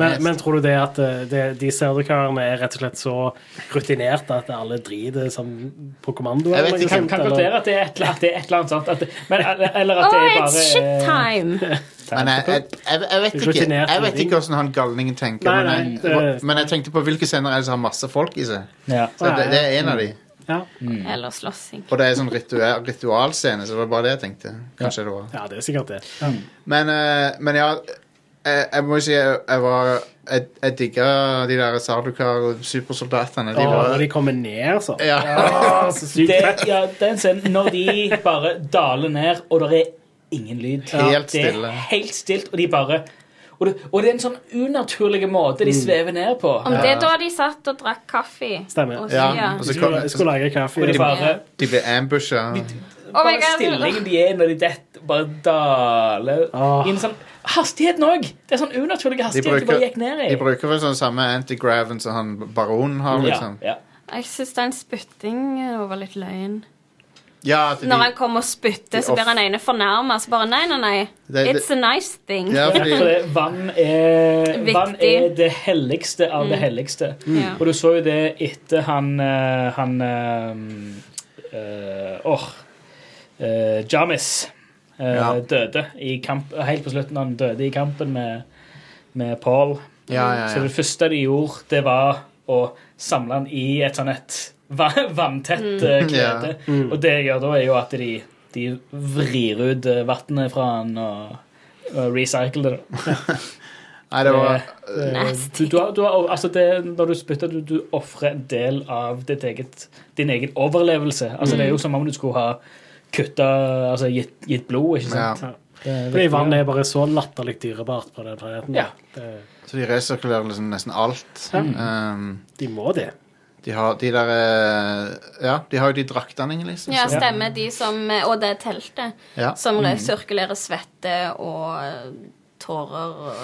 Men, men tror du det at eh, det, de serdukarene er rett og slett så rutinerte at alle driter som på kommando?
Jeg vet
eller noe
ikke,
Kan,
sånt,
kan
eller?
konkludere at det er et, eller- at det er et eller annet sånt. At det, men, eller eller at
Oh,
det er bare
it's shit time!
Men jeg, jeg, jeg, jeg vet ikke
Rutinert
Jeg vet
holdning.
ikke hvordan han galningen tenker,
Nei,
men,
nei,
jeg,
det-
men jeg tenkte på hvilke scener er det som har masse folk i seg.
Ja.
Så det, det er en av de.
Ja.
Eller slåssing.
Og det er sånn ritual, ritualscene, så det var bare det jeg tenkte. Kanskje det var
ja, det er sikkert det. Ja.
Men, eh, men ja, jeg, jeg må jo si jeg, jeg var Jeg, jeg digga de der Sardukar-supersoldatene. De
Og når
var
de kommer ned, så.
ja. [LAUGHS]
Å, så sykt
Det,
fett.
ja, den scenen når de bare daler ned, og det er ingen lyd.
Helt
Det
stille.
er helt stilt, og de bare og det, og det er en sånn unaturlig måte
Mm.
de svever ned på.
Om det er da de satt og drakk kaffe.
Stemmer.
Og,
Ja,
ja.
og
Jeg
så
skulle, jeg
kom,
skulle lage kaffe.
Og de bare,
de ble ambusha.
Oh my
bare
God.
stillingen de er når de detter, bare daler
Åh.
I en sånn hastigheten òg! Det er sånn unaturlig
De
hastighet de,
bruker,
bare gikk ned i.
de bruker vel sånn samme anti-graven som han baronen har, liksom.
ja, ja.
Jeg syns den spyttingen var litt løgn.
Ja, at de,
Når han kommer og spytter, så
off-
blir han ene fornærma. Så bare nei, nei, nei.
Det- det-
It's a nice thing.
ja,
Ja, for
fordi,
det, vann, er,
Viktig. Mm.
vann er det helligste av det helligste.
Ja.
Og du så jo det etter han eh, Han eh, eh, Åh eh, Jamis eh,
Ja.
døde i kamp Helt på slutten han døde i kampen med, med Paul.
ja, ja,
Så det
ja.
første de gjorde, det var å samle han i et sånn et va- vanntett eh, klede.
Mm.
Og det jeg gjør da, er jo at de, de vrir ut eh, vannet fra han og, og recycler det.
Nei, det var
Eh,
Nasty.
Du, du har, du har, altså det, når du spytter, du, du ofrer en del av ditt eget, din egen overlevelse. Altså Det er jo som om du skulle ha kutta Altså gitt, gitt blod, ikke
ja.
sant? Det er
Fordi
viktig,
vannet er bare så latterlig dyrebart på den planeten.
Ja.
Det- Mm,
Så de resirkulerer liksom nesten alt. Um,
De må det.
de har de der eh, Ja, de har jo de draktene, liksom.
Ja,
så-
stemmer. De som, eh, og det teltet
Ja.
som sirkulerer svette og eh, tårer og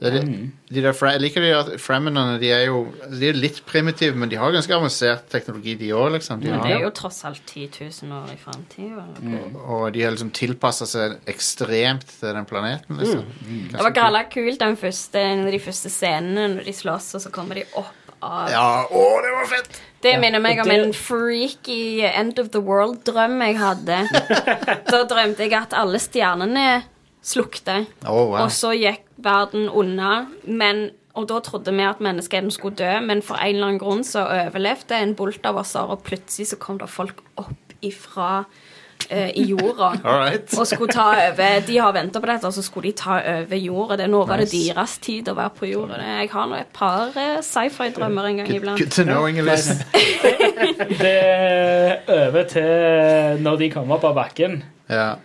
Det er
Mm.
de, de der, Fra- jeg liker de der Fremenene. De er jo de er litt primitive, men de har ganske avansert teknologi, de òg, liksom. De
Men det er
har,
jo tross alt 10 000 år i framtida.
og de har liksom tilpassa seg ekstremt til den planeten, liksom.
Mm.
Det var galla kult, den første, en av de første scenene når de slåss, og så kommer de opp av
Ja, å, det var fett!
Det minner meg
og
om
det-
en freaky end of the world-drøm jeg hadde.
[LAUGHS]
da drømte jeg at alle stjernene slukte,
Å, wow.
og så gikk verden unna. Men, og da trodde vi at menneskeheten skulle dø, men for en eller annen grunn så overlevde en bolt av oss, og plutselig så kom det folk opp ifra eh, i jorda.
[LAUGHS] All right.
Og skulle ta over De har venta på dette, og så skulle de ta over jorda. Det, nå var det deres tid å være på jorda. Jeg har nå et par eh, sci-fi-drømmer en gang
Good,
iblant.
good to know,
[LAUGHS]
Inge-Lise.
Det er over til når de kommer opp av bakken.
Ja.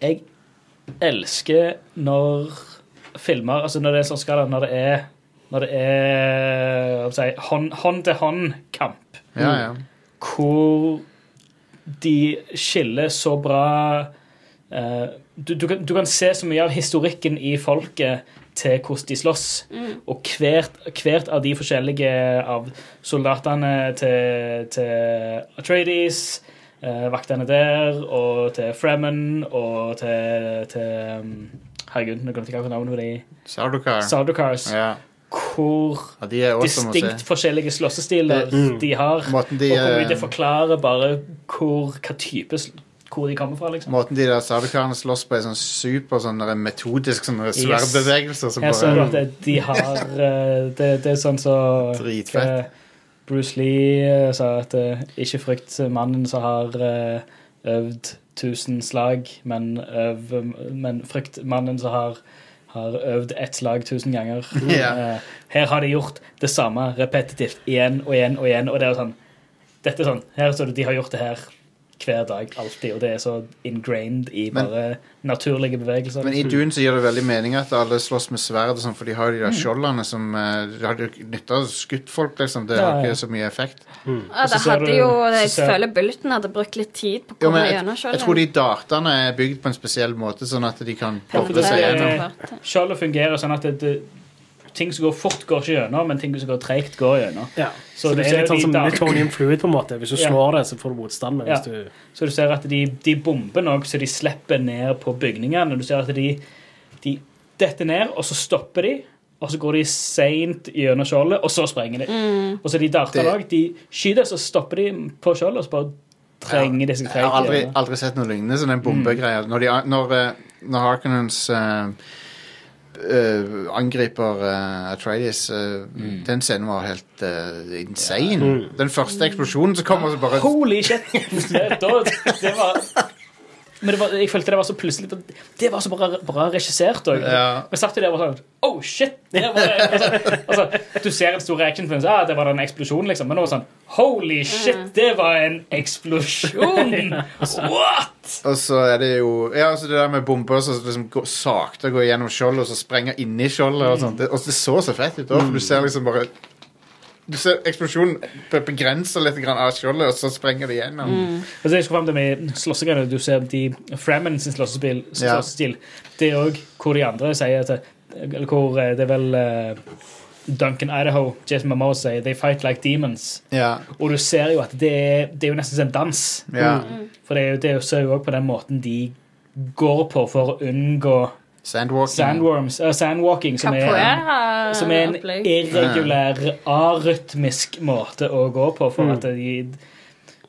jeg elsker når filmer Altså når det er sånn skala, når det er når det er hva skal jeg si, hånd- hånd-til-hånd-kamp,
ja, ja.
Mm. hvor de skiller så bra eh, du, du, kan, du kan se så mye av historikken i folket til hvordan de slåss. Og hvert, hvert av de forskjellige av soldatene til, til Atreides, eh, vaktene der, og til Fremen, og til, til um, Herregud, nå glemte jeg hva navnet på de
Sardukar.
Sardukars.
Ja.
Hvor
ja, de er awesome å se. Mm.
distinkt forskjellige slåssestiler de har.
Måten de,
og hvor
eh,
mye det forklarer bare hvor, hva type sl- hvor de kommer fra, liksom.
Måten de der sardukarene slåss på, er sånn super sånn der metodisk sånn der
Yes.
sverdbevegelser. sånn som
Jeg
[LAUGHS]
så
bare
at det- de har eh, Det, det er sånn så
Dritfett.
eh, Bruce Lee eh, sa at eh, ikke frykt mannen som har eh, øvd tusen slag, men, øv, men frykt mannen som har, har øvd ett slag tusen ganger.
[LAUGHS] Ja.
Eh, her har de gjort det samme repetitivt igjen og igjen og igjen. Og det er jo sånn, dette er sånn, her står det, De har gjort det her hver dag, alltid, og det er så ingrained i
Men-
bare naturlige bevegelser.
Men i Dune så gir det veldig mening at alle slåss med sverd, og sånn, for de har jo de der
Mm.
skjoldene som eh, De hadde jo ikke nytte av å skutt folk, liksom. Det
Ja,
har
ja.
ikke så mye effekt.
Ja,
så
det
ser
hadde
du-
jo,
så
Jeg
ser-
føler Bulletin hadde brukt litt tid på å
Jo, men
komme
jeg,
gjennom
jeg tror
skjoldet.
de dartene er bygd på en spesiell måte, sånn at de kan doble seg
Penetrere.
gjennom.
Penetrere.
Skjoldet fungerer sånn at det, det, ting som går fort, går ikke gjennom, men ting som går treigt, går gjennom.
Ja.
Så
Så,
du
det
ser
er litt
de
sånn som
da-
Newtonian fluid, på en måte. Hvis du
Ja.
slår det, så får du motstand. Men
Ja.
hvis du
Så du ser at de, de bomber nok, så de slipper ned på bygningene. Du ser at de, de detter ned, og så stopper de, og så går de seint gjennom skjoldet, og så sprenger de. Og så de darter
Det-
lag. De skyter, så stopper de på skjoldet, og så bare trenger de seg
Jeg har
treigt
aldri,
gjennom.
aldri sett noe lignende som den
Mm.
bombegreia. Når, de, når, eh, når Harkonnens eh, eh, angriper eh, Atreides eh,
Mm.
Den scenen var helt eh, insane. Den første eksplosjonen som kommer, så bare
Holy shit! Det, da, det var men det var, jeg følte det var så plutselig Det var så bra, bra regissert òg.
Ja.
Vi satt jo der og var sånn Oh, shit! Det var det. Altså, altså, du ser en stor actionfilm, så ah, det var da en eksplosjon, liksom. Men nå var det sånn Holy shit! Det var en eksplosjon! What?!
Og så er det jo Ja, altså det der med bomber som liksom går sakte går gjennom skjoldet, og så sprenger inni skjoldet og sånt. Det, og det så så fett ut òg, for du ser liksom bare Du ser eksplosjonen be- begrenser litt grann av skjoldet, og så sprenger det gjennom.
Altså, jeg skulle frem til med slåssingene. Du ser de Frammen sin slåssestil.
Ja.
slåssestil. Det er òg hvor de andre sier at Eller hvor eh, det er vel eh, Duncan Idaho, Jason Momoa sier They fight like demons.
Ja.
Og du ser jo at det er, det er jo nesten som en dans.
ja.
For det er jo, det er jo, ser jo også på den måten de går på for å unngå
Sandwalking.
sandworms, eh, sandwalking, som er,
eh,
som er en e-
Capoeira-opplegg.
irregulær, arytmisk måte å gå på for at de,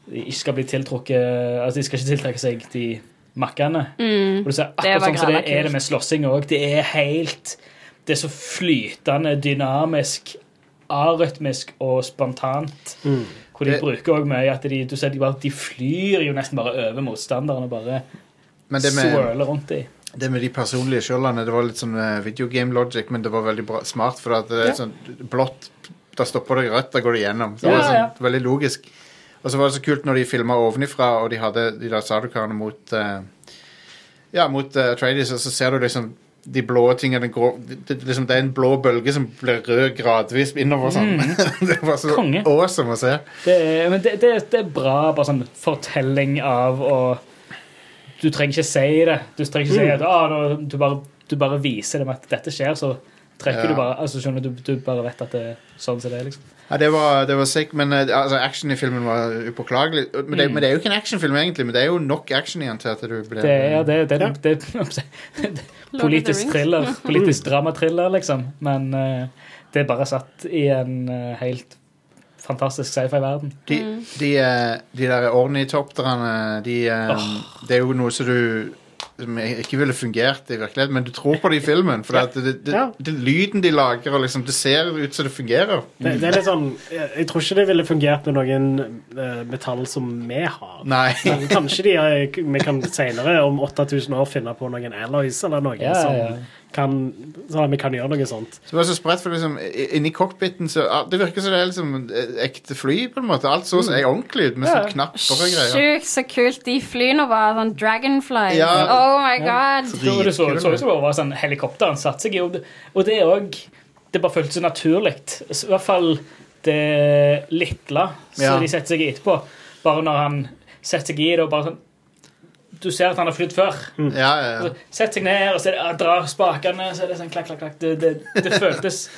de ikke skal bli tiltrukket Altså, de skal ikke tiltrekke seg de makkene.
Mm.
Og du ser akkurat
Det
sånn
var
som det
gralla
er
kult.
det med slåssing òg. Det er helt Det er så flytende, dynamisk, arytmisk og spontant.
Mm.
Hvor de
Det-
bruker òg mye at de, du ser de, bare, de flyr jo nesten bare over motstanderen og bare
Men det med,
swirler rundt dem.
det med de personlige skjoldene, det var litt sånn eh, video game logic, men det var veldig bra, smart, for at det er sånn blått Da stopper det rødt, da går det gjennom. Så det var
Ja,
sånn,
ja.
veldig logisk. Og så var det så kult når de filma ovenifra, og de hadde de der sadukarene mot eh, Ja, mot uh, og så ser du liksom de blå tingene den grå, det, det- liksom, det er en blå bølge som blir rød gradvis innover sånn. [LAUGHS] det var så
Mm. Konge.
awesome å se.
Det, er- men det, det, det er bra bare sånn fortelling av å Du trenger ikke si det. Du trenger ikke si at ah, nå- du, bare, du bare viser dem at dette skjer, så trekker
Ja.
du bare altså skjønner du, du bare vet at det er sånn som det er. liksom.
Ja, det var, det var sick, men eh, altså, action i filmen var upåklagelig. Men
Mm.
det, men det er jo ikke en actionfilm, egentlig, men det er jo nok action i den til at du blir
Det er, [LAUGHS] det, det, det, det, politisk thriller. Politisk dramatriller, liksom. Men eh, det er bare satt i en eh, helt fantastisk sci-fi-verden.
De, de, eh, de der ornitopterne de, eh, Det er jo noe som du som ikke ville fungert i virkeligheten, men du tror på det i filmen. For det, det, det,
Ja.
det, lyden de lager, og liksom, det ser ut som det fungerer.
det, det er litt sånn Jeg, jeg tror ikke det ville fungert med noen eh, metall som vi har.
Nei.
Men kanskje de, er- vi kan senere, om 8000 år, finne på noen alloys eller noe
Ja,
som
ja.
kan Sånn at vi kan gjøre noe sånt.
Så det var så spredt, for liksom, i- inni cockpiten så ah, Det virker som det er liksom eh, ekte fly, på en måte. Alt så er ordentlig ut, med
Mm. Ja.
sånne knapper og greier.
Sjukt så kult de flyene var. Sånn Dragonfly.
Ja.
Oh my god.
Drit-
Og det så ut som
kul.
det var sånn helikopteren satte seg i og det- Og det òg Det bare føltes så naturlig. Så I hvert fall det lille som
Ja.
de setter seg i etterpå. Bare når han setter seg i det og bare sånn Du ser at han har flydd før.
Ja, ja, ja.
Så Sett seg ned og så er det, ah, drar spakene, så er det sånn klakk, klakk, klakk. Det, det, det føltes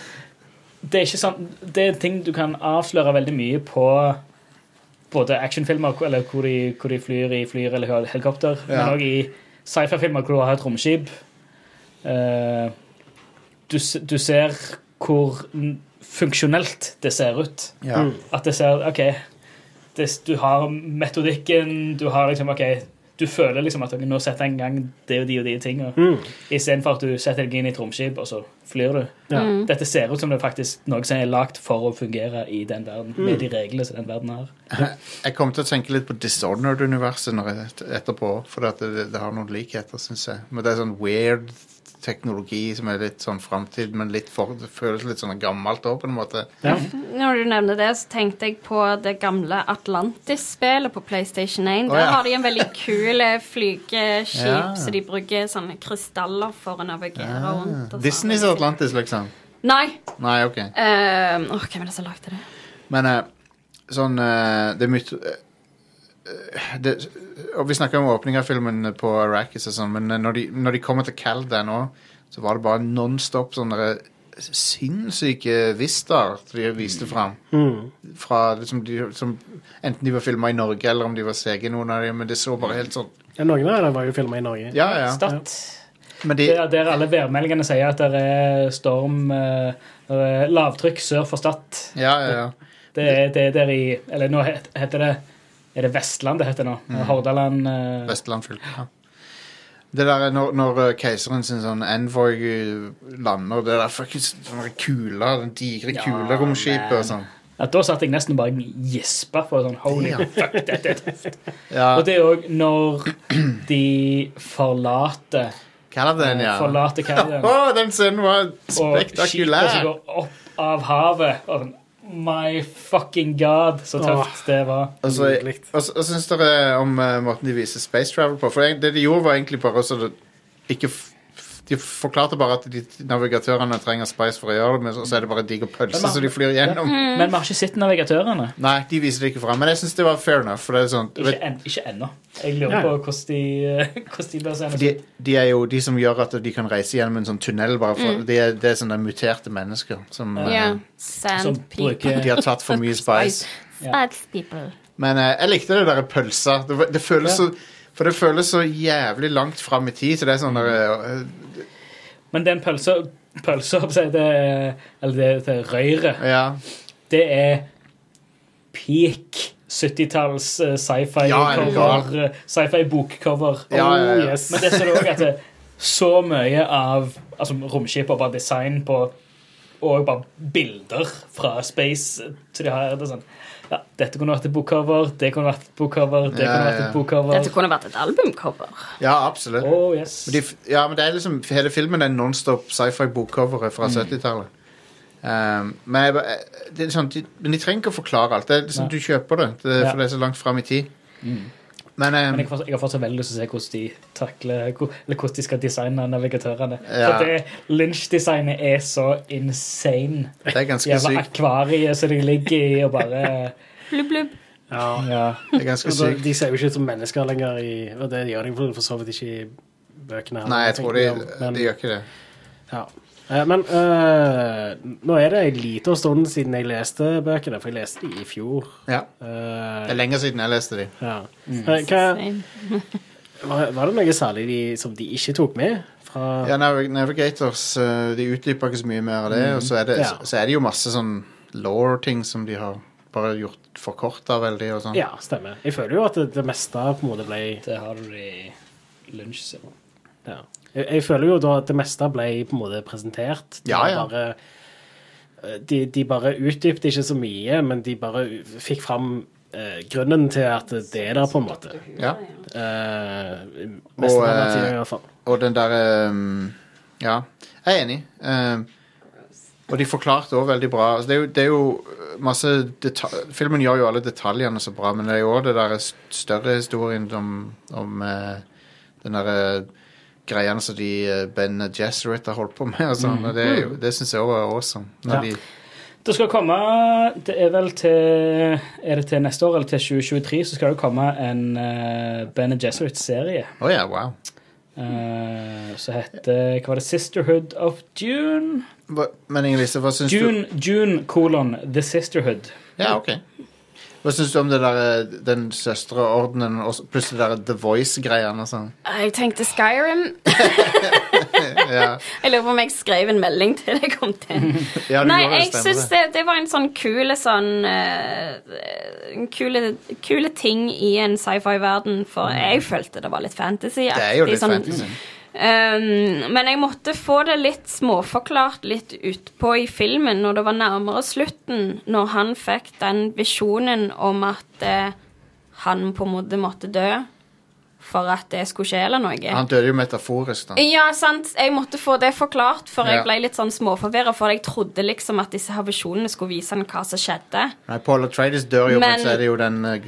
Det er ikke sånn Det er en ting du kan avsløre veldig mye på både actionfilmer hvor- eller hvor de, hvor de flyr i flyr eller hel- helikopter,
Ja.
men òg i sci-fi-filmer hvor du har et romskip. Eh, du, s- du ser hvor n- funksjonelt det ser ut.
ja.
Mm.
At det ser OK, det, du har metodikken, du har liksom OK, du føler liksom at ok, nå setter jeg en gang det og de og de tingene.
Mm.
Istedenfor at du setter deg inn i et romskip, og så flyr du.
Ja.
Mm.
Dette ser ut som det er faktisk noe som er lagt for å fungere i den
Mm.
verden, med de reglene som den verden har.
Jeg kom til å tenke litt på Dishonored-universet når jeg- etterpå, for at det, det har noen likheter, syns jeg. Men det er sånn weird teknologi som er litt sånn framtid, men litt for, det føles litt sånn gammelt òg, på en måte.
Ja.
Når du nevner det, så tenkte jeg på det gamle Atlantis-spillet på PlayStation 1.
Å,
Der
ja.
har de en veldig kul eh, flygeskip,
Ja. Ah.
så de bruker sånne krystaller for å navigere rundt. og sånn.
Disneys Atlantis, liksom.
Nei.
Nei, OK.
Eh, Åh, hvem er det som lagde det?
Men eh, sånn eh, Det er myt... eh, det, og vi snakker om åpningen av filmen på Arrakis og sånn, men eh, når de, når de kommer til Calda nå, så var det bare nonstop sånne eh, sinnssyke vistaer de viste fram.
Mm.
Fra, liksom, de, som, enten de var filma i Norge, eller om de var CG, noen av dem, men det så bare helt sånn
Ja, Noen av dem var jo filma i Norge.
Ja, ja.
Start.
Men de,
Det er der alle værmeldingene sier at det er storm, eh, det er lavtrykk sør for Stad.
ja, ja, ja.
Det er, det er der i Eller nå het- heter det Er det Vestland det heter nå? Hordaland eh,
Mm. Vestland fylke. Ja. Det der er når, når eh, keiseren sin sånn envoy eh, lander, det der fuckings sånne kuler, den digre
Ja,
kuleromskipet og sånn.
At Da satt jeg nesten bare og gispa for sånn holy
Ja.
fuck, dette er tøft.
Ja,
Og det er òg når de forlater
Caladan, ja. Å,
Forlater Canyon.
den scenen var
Og skipet som
spektakulær!
går opp av havet. Og sånn My fucking god, så tøft det var.
Og så
Nydelig.
altså, syns dere om eh, måten de viser space travel på? For det de gjorde, var egentlig bare så det ikke f- f- De forklarte bare at de navigatørene trenger space for å gjøre det, men så så er det bare digg og pølse
Men man- Mm.
som de flyr gjennom.
Men vi har ikke sett navigatørene.
Nei, de viser det ikke fram, men jeg syns det var fair enough. For det er sånn,
Ikke, en, ikke ennå. Jeg lurer
Ja.
på hvordan de, [LAUGHS] hvordan de blir seende.
De, de er jo de som gjør at de kan reise gjennom en sånn tunnel. Bare for, det, er, det er sånne muterte mennesker som
Ja.
eh,
Som
Sand people.
bruker
De har tatt for mye spice.
Sand people.
Men eh, jeg likte det der pølsa. Det, var- det føles
Ja.
så For det føles så jævlig langt fram i tid. Så det er sånn der, eh,
Men den pølsa Pølsa, holdt jeg på å si, det, eller det, det røyret,
Ja.
det er peak 70-talls eh,
Ja, er du
sci-fi-cover.
gal?
eh, sci-fi-bokcover.
Ja, ja, ja.
Oh, yes.
Men det ser du òg at det, så mye av altså, romskip og bare design på Og bare bilder fra space. Så de har det er sånn ja, Dette kunne vært et bokcover, det kunne vært et bokcover, det
Ja,
kunne vært
ja.
et bokcover.
Dette kunne vært et albumcover.
ja, absolutt.
Oh, yes.
Men de, f- ja, men det er liksom Hele filmen er nonstop sci-fi-bokcoveret
Mm.
fra 70-tallet. Um, men, jeg ba- eh, det er sånn, de, men de trenger ikke å forklare alt. Det er liksom,
Nei.
du kjøper det, det
Ja. Mm.
for det er så langt fram i tid. Men, um,
Men jeg, har fortsatt- jeg har fortsatt veldig lyst til å se hvordan de takler hvor- Eller hvordan de skal designe navigatørene.
Ja.
For det Lynch-designet er så insane.
det er ganske
Jævla
sykt.
akvariet som de ligger i, og bare
Blubb, blubb.
Ja.
ja.
Det er ganske
Og da,
sykt.
de ser jo ikke ut som mennesker lenger, i, og det gjør de for, for så vidt ikke i bøkene. heller,
Nei, jeg tror de,
tenker jeg, men-
de gjør ikke det.
Ja. Eh, Men eh, nå er det en liten stund siden jeg leste bøkene, for jeg leste de i fjor.
Ja.
Eh,
Det er lenge siden jeg leste de.
ja. Eh, hva,
Mm. Same.
var, var det noe særlig de, som de ikke tok med? Fra,
Ja, Nav- Navigators eh, de utdyper ikke så mye mer av det, og så er det,
Mhm. Ja.
så, så er det jo masse sånn law-ting som de har bare gjort forkorta veldig og sånn.
Ja, stemmer. Jeg føler jo at det, det meste på en måte ble
Det har du i Lynch.
ja. jeg, jeg føler jo da at det meste ble på en måte presentert. De
Ja,
var
ja.
Bare, eh, de, de bare utdypte ikke så mye, men de bare fikk fram eh, grunnen til at det er der, på en måte.
Ja.
Eh,
Og,
mest av
eh,
tiden, i hvert fall.
Og den derre Ja, jeg er enig. Ehm, og de forklarte òg veldig bra. Altså, det, er jo, det er jo masse deta Filmen gjør jo alle detaljene så bra, men det er jo òg det derre st- større historien om, om eh, den derre greiene som de eh, Ben Jesuit har holdt på med og sånn. og Det, er jo- det syns jeg òg var awesome. Når
Ja.
de,
Det skal komme Det er vel til Er det til neste år eller til 2023 så skal det komme en uh, Bene Gesserit-serie
Å ja, wow.
eh, som heter Hva var det? Sisterhood of June?
Hva, men Inger-Lise, hva syns du
June, June kolon The Sisterhood.
Ja, ok. Hva syns du om det der, eh, den søstreordenen og s- pluss det der The Voice-greiene og sånn?
Jeg tenkte Skyrim.
ja.
Jeg lurer på om jeg skrev en melding til deg om det.
ja, du
Nei,
gjorde det,
jeg
stemmer
syns
det.
det, det var en sånn kule sånn eh, En kule, kule ting i en sci-fi-verden, for jeg følte det liksom var litt sånn fantasy.
Mm. Det er jo litt liksom. fantasy.
Um, men jeg måtte få det litt småforklart litt utpå i filmen, når det var nærmere slutten, når han fikk den visjonen om at eh, han på en måte måtte dø for at det skulle skje eller noe.
Han døde jo metaforisk, da.
Ja, sant. Jeg måtte få det forklart, for
Ja.
jeg ble litt sånn småforvirra. For jeg trodde liksom at disse her visjonene skulle vise han hva som skjedde.
Nei, Paul Atreides dør jo, men,
Men-
så er det jo den eh,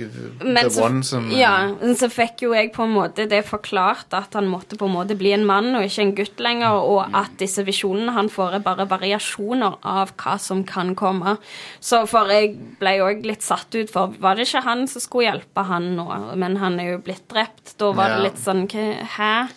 Men
The
så,
One som eh,
ja, men så fikk jo jeg på en måte det forklart at han måtte på en måte bli en mann og ikke en gutt lenger,
Mm.
og at disse visjonene han får, er bare variasjoner av hva som kan komme. Så for jeg ble jo òg litt satt ut, for var det ikke han som skulle hjelpe han nå? Men han er jo blitt drept. Da var
Ja.
det litt sånn hva- Hæ?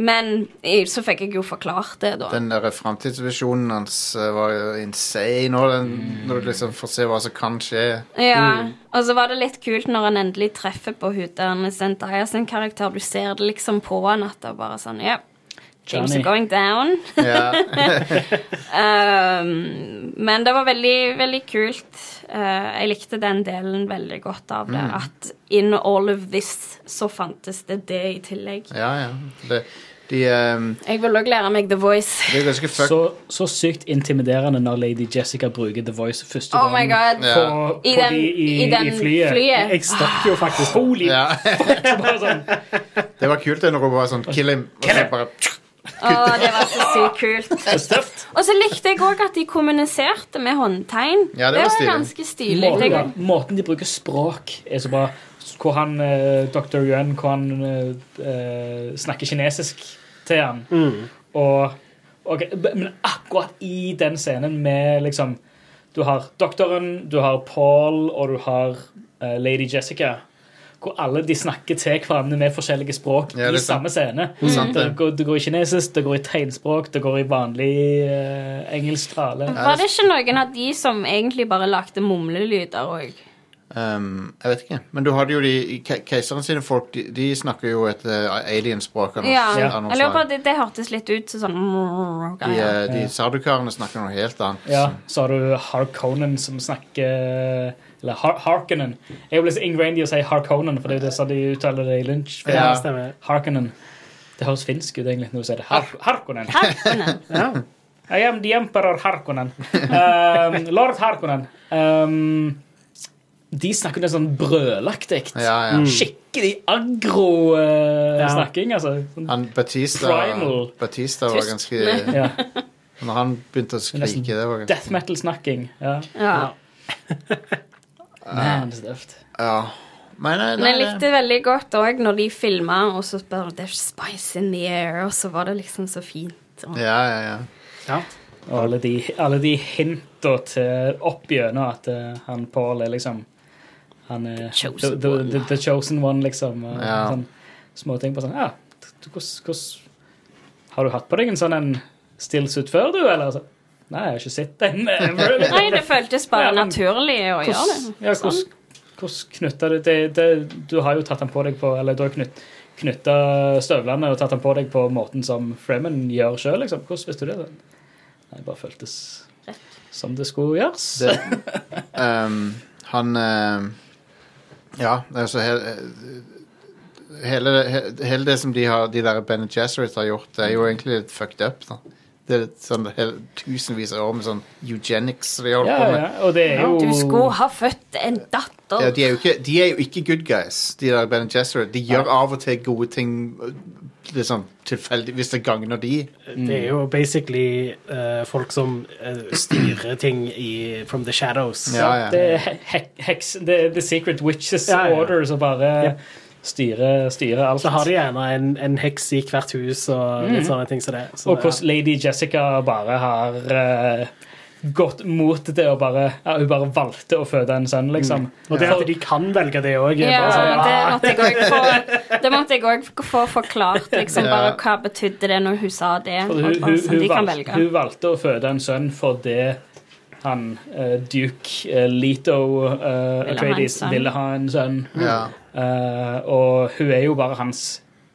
Men eh, så fikk jeg jo forklart det, da.
Den der framtidsvisjonen hans eh, var jo insane. Og den, Når du liksom får se hva som kan skje.
Ja,
Mm.
og så var det litt kult når han endelig treffer på huderne Zendaya sin karakter. Du ser det liksom på han at det er bare sånn Ja, things
Johnny.
are going down.
Ja.
Um, men det var veldig, veldig kult. Eh, jeg likte den delen veldig godt av
Mm.
det. At in all of this så fantes det det i tillegg.
Ja, ja. Det, de, ehm,
Jeg vil òg lære meg The Voice.
det er ganske fuck...
Så, så sykt intimiderende når Lady Jessica bruker The Voice første
Oh my
gang
god.
Ja.
på,
I
på
den,
de i,
i den
flyet.
flyet.
Jeg stakk jo faktisk opp.
Holy
Ah. Ja. [LAUGHS]
så bare sånn,
Det var kult det når hun bare sånn Kill him! Og så bare,
Å, det var så sykt kult.
det er støft.
Og så likte jeg òg at de kommuniserte med håndtegn.
Ja, det var stilig.
ganske stilig. Det
Måten, måten de bruker språk er så bra. Hvor han, eh, Dr. Yuan hvor han eh, eh, snakker kinesisk til han.
Mm.
Og, ok, b- men akkurat i den scenen med liksom Du har doktoren, du har Paul, og du har eh, Lady Jessica. Hvor alle de snakker til hverandre med forskjellige språk
Ja, det er
i samme scene.
sant
Det,
det.
går, det går i kinesisk, det går i tegnspråk, det går i vanlig eh, engelsk tale.
Var det ikke noen av de som egentlig bare lagde mumlelyder òg?
ehm, jeg vet ikke. Men du hadde jo de ke- keiseren sine folk, de, de snakker jo et eh, alienspråk av noe-
Ja.
av noe
Jeg lurer på
slag.
at det, det hørtes litt ut som sånn
De,
ja.
eh, de sardukarene snakker noe helt annet.
Ja, så har du Harkonnen som snakker Eller Har Harkonnen. Jeg ble så ingrained i å si Harkonnen, for det er jo det som de uttaler det i lunsj.
Ja,
Ja.
stemmer.
Harkonnen. Det høres finsk ut egentlig når du sier det. Har Harkonnen.
Harkonnen.
Ja.
I am the emperor Harkonnen. Um, Lord Harkonnen. Um, de snakker noe sånn brølaktig.
Ja, ja.
Skikkelig aggro-snakking, altså. Sånn,
Han Batista,
Primal.
Batista var
Tysk.
ganske
ja.
Når han begynte å skrike, det var ganske
Death metal-snakking. [LAUGHS] Ja.
Ja.
Man, det er tøft.
Ja. Men nei,
Men
nei,
jeg likte veldig godt òg når de filma, og så bare There's spice in the air, og så var det liksom så fint. Og-
Ja, ja, ja.
Ja.
Og alle de, alle de hinta til opp gjennom at eh, han Paul er liksom han er,
The chosen
the, the, the, the chosen one, liksom. og
Ja.
Sånn, små ting på sånn Ja, t- t- hvordan hvordan- Har du hatt på deg en sånn en stillsuit før, du, eller? Så, Nei, jeg har ikke sett den. eh,
[LAUGHS]
ever."
Nei, det føltes bare
Ja, men-
naturlig å gjøre det.
Hvordan- Ja, hvordan hvordan knytta du det, det Du har jo tatt den på deg på Eller du har knytt, knytta støvlene og tatt den på deg på måten som Fremen gjør sjøl, liksom. Hvordan visste du det? Nei, det bare føltes som det skulle gjøres.
Det,
[LAUGHS]
ehm, han ehm, Ja, altså he, hele, he, hele det som de, har, de der Ben Gesserit har gjort, det er jo
Mm.
egentlig litt fucked up. da det er sånn hele, tusenvis av år med sånn eugenics de holder
ja,
på med.
ja, og det er jo
Du skulle ha født en datter.
Ja, de, er jo ikke, de er jo ikke good guys, de der Ben Gesserit. De gjør av og til gode ting øh, liksom, tilfeldig, hvis det gagner de.
Det er jo basically eh, folk som eh, styrer ting i From the Shadows.
Ja, ja.
Det er he- he- heks, det er The Secret Witches
Ja, ja.
Order som bare
Ja.
styrer, styrer alt.
Så har de gjerne en, en heks i hvert hus og litt sånne ting som det. Så,
Og hvordan Lady Jessica bare har eh, gått mot det og bare ja, Hun bare valgte å føde en sønn, liksom.
ja. Mm. og det at de kan velge det òg.
Ja,
altså,
det
ah.
Sånn,
måtte jeg
[LAUGHS]
også få, det måtte jeg også få forklart, liksom,
Ja.
bare hva betydde det når hun sa det.
For
Og
hun,
bare
hun,
sånn,
hun,
de kan
valgte, hun
velge.
valgte å føde en sønn fordi han eh, Duke eh, Leto uh,
en
Atreides
sønn.
ville ha en sønn.
Ja.
Eh, og hun er jo bare hans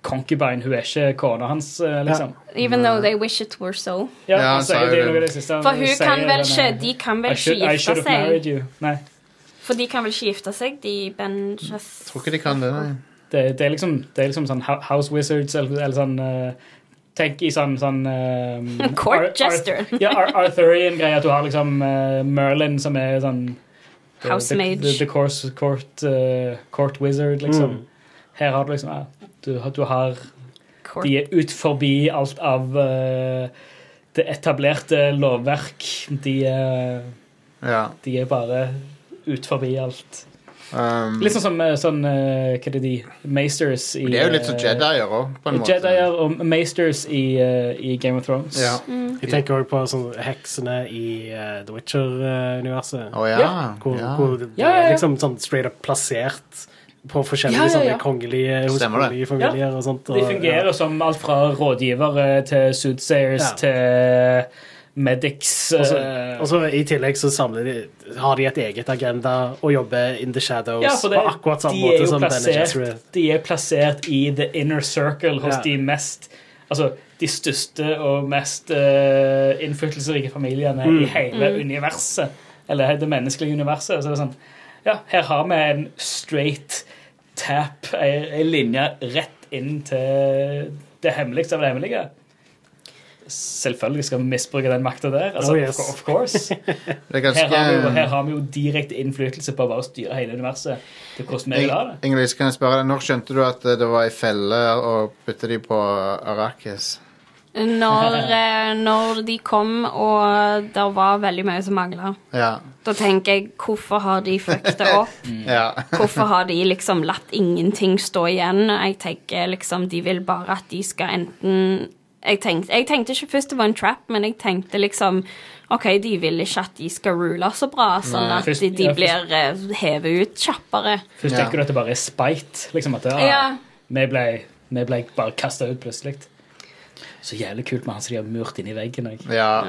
concubine. Hun er ikke kona hans, eh, liksom.
Even though they wish it were so.
Ja,
Ja,
han sier det i noe av det siste. han
For hun
sier
kan vel
denne-
ikke De kan vel
I
ikke
should, I
gifte
should have
seg?
married you. Nei,
For de kan vel ikke gifte seg, de Benjas
Jeg tror ikke de kan det, nei.
det, det, er liksom, det er liksom sånn hou- House Wizards eller, eller sånn eh, Tenk i sånn, sånn eh, Ar- Ar-
[LAUGHS] Court jester.
[LAUGHS] Ja, Ar Arthurian greie at du har liksom eh, Merlin som er sånn the-
Housemage.
The, the, the course, court, eh, court wizard, liksom.
Mm.
Her har du liksom ja, du, har- du har
Court.
De er ut forbi alt av eh, det etablerte lovverk. De, er-
Ja.
de er bare ut forbi alt.
Um,
Litt sånn som eh, sånn, eh, Hva er det de Maesters i
det er jo litt som
eh,
Jedier òg, på en måte.
Jedier og Maesters i, eh, i Game of Thrones.
Ja.
Mm.
Jeg tenker også på sånn, heksene i eh, The Witcher-universet.
Å ja.
Ja.
Hvor,
ja.
hvor det
Ja, ja, ja.
er liksom sånn straight up plassert på forskjellige
Ja, ja, ja.
sånne kongelige, hos
Stemmer det.
kongelige familier og sånt. Og,
De fungerer som alt fra rådgivere til soothsayers
Ja.
til medics.
Og så-
eh,
Og så I tillegg så samler de, har de et eget agenda og jobber in the shadows
Ja, for det-
på akkurat samme
de er
måte
jo
som Bene Gesserit.
plassert, De er plassert i the inner circle hos
Ja.
de mest Altså de største og mest eh, innflytelsesrike familiene
Mm.
i hele universet. Eller det menneskelige universet. Så det er sånn Ja, her har vi en straight tap, ei ei linje rett inn til det hemmeligste av det hemmelige. Selvfølgelig skal vi misbruke den makta der. Altså,
Oh, yes.
of, of
[LAUGHS]
course.
Det er
Her har, vi jo, her
ganske
har vi jo direkte innflytelse på å bare styre hele universet. Det er hvordan vi vil ha det.
Ingrid, kan jeg spørre deg, når skjønte du at eh, det var ei felle å putte de på eh, Arrakis?
Når,
[LAUGHS]
eh, når de kom, og det var veldig mye som mangla,
Ja.
da tenker jeg hvorfor har de fucket det
[LAUGHS]
opp?
ja.
Hvorfor har de liksom latt ingenting stå igjen? Jeg tenker liksom de vil bare at de skal enten jeg tenkte, jeg tenkte ikke først det var en trap, men jeg tenkte liksom OK, de vil ikke at de skal rule så bra, sånn
Nei.
at
Først-
de, de
ja, først-
blir eh, hevet ut kjappere.
Først
Ja.
tenker du at det bare er spite. Liksom at det, ah,
Ja.
vi, ble, vi ble bare kasta ut plutselig. Så jævlig kult med han som de har murt inn i veggen. Jeg.
ja.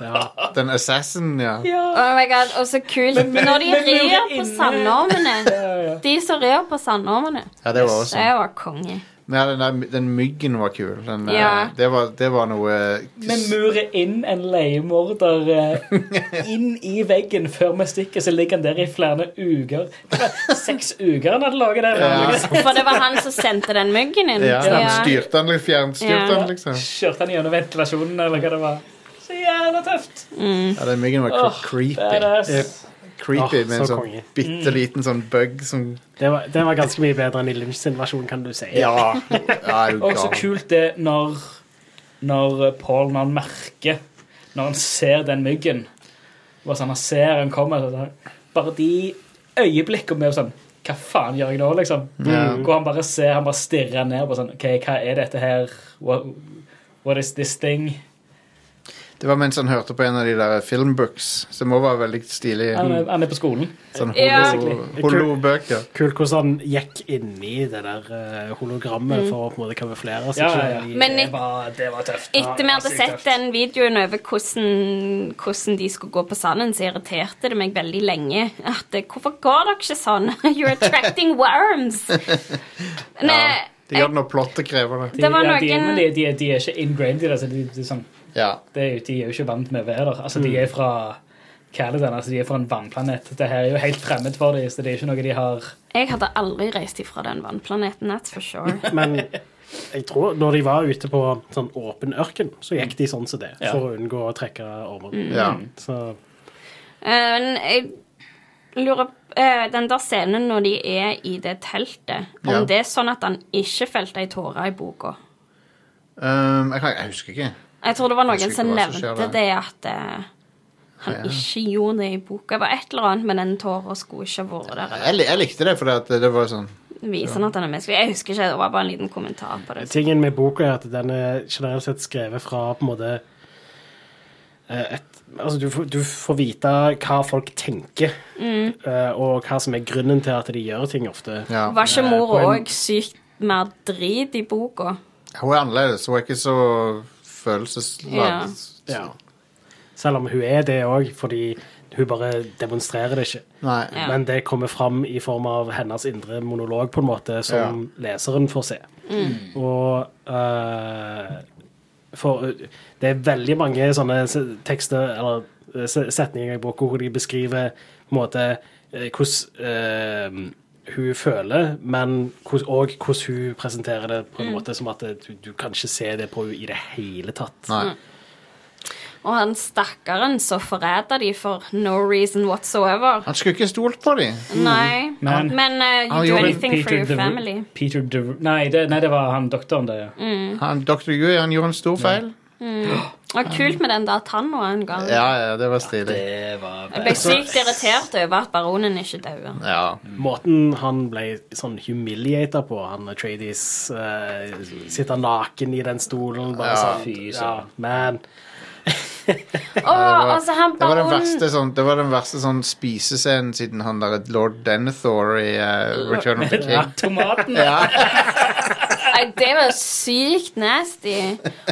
Ja.
Den assassin, ja.
Oh my god, og så kult. Når de
men- men-
rir
men-
på
inne-
sandormene.
Ja, ja.
De som rir på sandormene.
Ja, det var
Det
awesome.
var konge.
Ja, den, der, den myggen var kul. Den, eh,
Ja.
det, var, det var noe eh,
Vi murer inn en leiemorder eh, inn i veggen før vi stikker, så ligger han der i flere uker. Det var Seks uker han hadde laget der.
Ja.
For det var han som sendte den myggen inn.
Ja,
Ja.
den styrte han, fjernstyrte
Ja.
han, liksom.
Kjørte han gjennom ventilasjonen, eller hva det var. Så jævla tøft!
Ja, den myggen var cre-
Åh,
creepy.
Badass.
Ja.
Creepy
Åh,
med en
så
sånn
konge.
bitte liten sånn bug som
Det, var, det var ganske mye bedre enn i Lynch sin versjon, kan du si.
Ja, ja er du
Og så
gal.
kult det når, når Paul når han merker Når han ser den myggen og sånn, Han ser han kommer så sånn, Bare de øyeblikkene med sånn Hva faen gjør jeg nå, liksom?
Ja.
Hvor han bare ser, han bare stirrer ned på sånn OK, hva er dette her? What, what is this thing?
Det var mens han hørte på en av de der filmbooks, som også var veldig stilig. Mm.
Han er, han er på skolen.
Sånn
Ja.
holo- holo-bøker.
Kult hvordan han gikk inni det der eh, hologrammet
Mm.
for å på en måte kamuflere seg.
Ja, ja,
selv
ja.
i-
Men
det, var, det var tøft.
Etter vi hadde
Sykt
sett
tøft.
den videoen over hvordan, hvordan de skulle gå på sanden, så irriterte det meg veldig lenge. At eh, hvorfor går dere ikke sånn? [LAUGHS] You're attracting
[LAUGHS]
worms!
Ja,
Nei,
de gjør det når plottet krever det.
De,
Det var
ja, de,
noen-
men de, de, er- de er ikke ingrained i det. Så de, de, er sånn,
Ja.
det er jo, de er jo ikke vant med været. Altså,
Mm.
de er fra Caladan, altså, de er fra en vannplanet. Dette er jo helt fremmed for dem, så det er ikke noe de har
jeg hadde aldri reist ifra den vannplaneten, that's for sure.
Men jeg tror når de var ute på sånn åpen ørken, så gikk de sånn som det,
Ja.
for å unngå å trekke ormer.
ja.
Så
Eh, Men jeg lurer eh, Den der scenen når de er i det teltet, om
Ja.
det er sånn at han ikke felte ei tåre i boka?
Um, jeg, kan, jeg husker ikke.
Jeg tror det var noen
Husker ikke
som
hva som skjer
nevnte
der.
det at eh, han
Ja.
ikke gjorde det i boka. Det var et eller annet med den tåra skulle ikke ha vært der.
Jeg, li- jeg likte det, for det, det var sånn
Det Viser at han er menneskelig. Jeg husker ikke, det var bare en liten kommentar på det.
tingen med boka er at den er generelt sett skrevet fra på en måte eh, et, Altså, du, får- du får vite hva folk tenker, eh, og hva som er grunnen til at de gjør ting ofte.
ja.
Var ikke mor
på en-
òg sykt mer drit i boka?
Hun er annerledes. Hun er ikke så følelsesladd.
Ja. Selv om hun er det òg, fordi hun bare demonstrerer det ikke.
Nei.
Ja.
Men det kommer fram i form av hennes indre monolog, på en måte, som leseren får se. Og eh, for Det er veldig mange sånne se- tekster eller eh, se- setninger i boka hvor de beskriver på en måte eh, hvordan eh, hun føler, men hvordan- og hvordan hun presenterer det på en måte som at det- du, du kan ikke se det på henne i det hele tatt.
Nei.
Og han stakkaren så forræder de for no reason whatsoever.
Han skulle ikke stolt på dem.
Nei.
Men-
Men eh, you
Mm. Han
do
gjorde
anything for your
Dever-
family. Mm.
Peter Dever nei, det, nei, det var han doktoren der, ja.
Han, Dr. Yui han gjorde en stor feil.
Og kult med den der tanna han ga.
Ja, ja, det var stilig.
Det var
Jeg ble sykt irritert over at baronen ikke døde.
Ja.
Mm. Måten han ble sånn humiliated på, han Trades uh, sitter naken i den stolen,
Ja.
bare sånn
Fy
ja,
søren.
Man.
Å, altså, han
Det var den
baronen
verste, sånn, det var den verste sånn spisescenen siden han der lord Denethor i eh, Return of the King.
[LAUGHS]
Tomaten
Nei, det var sykt nasty.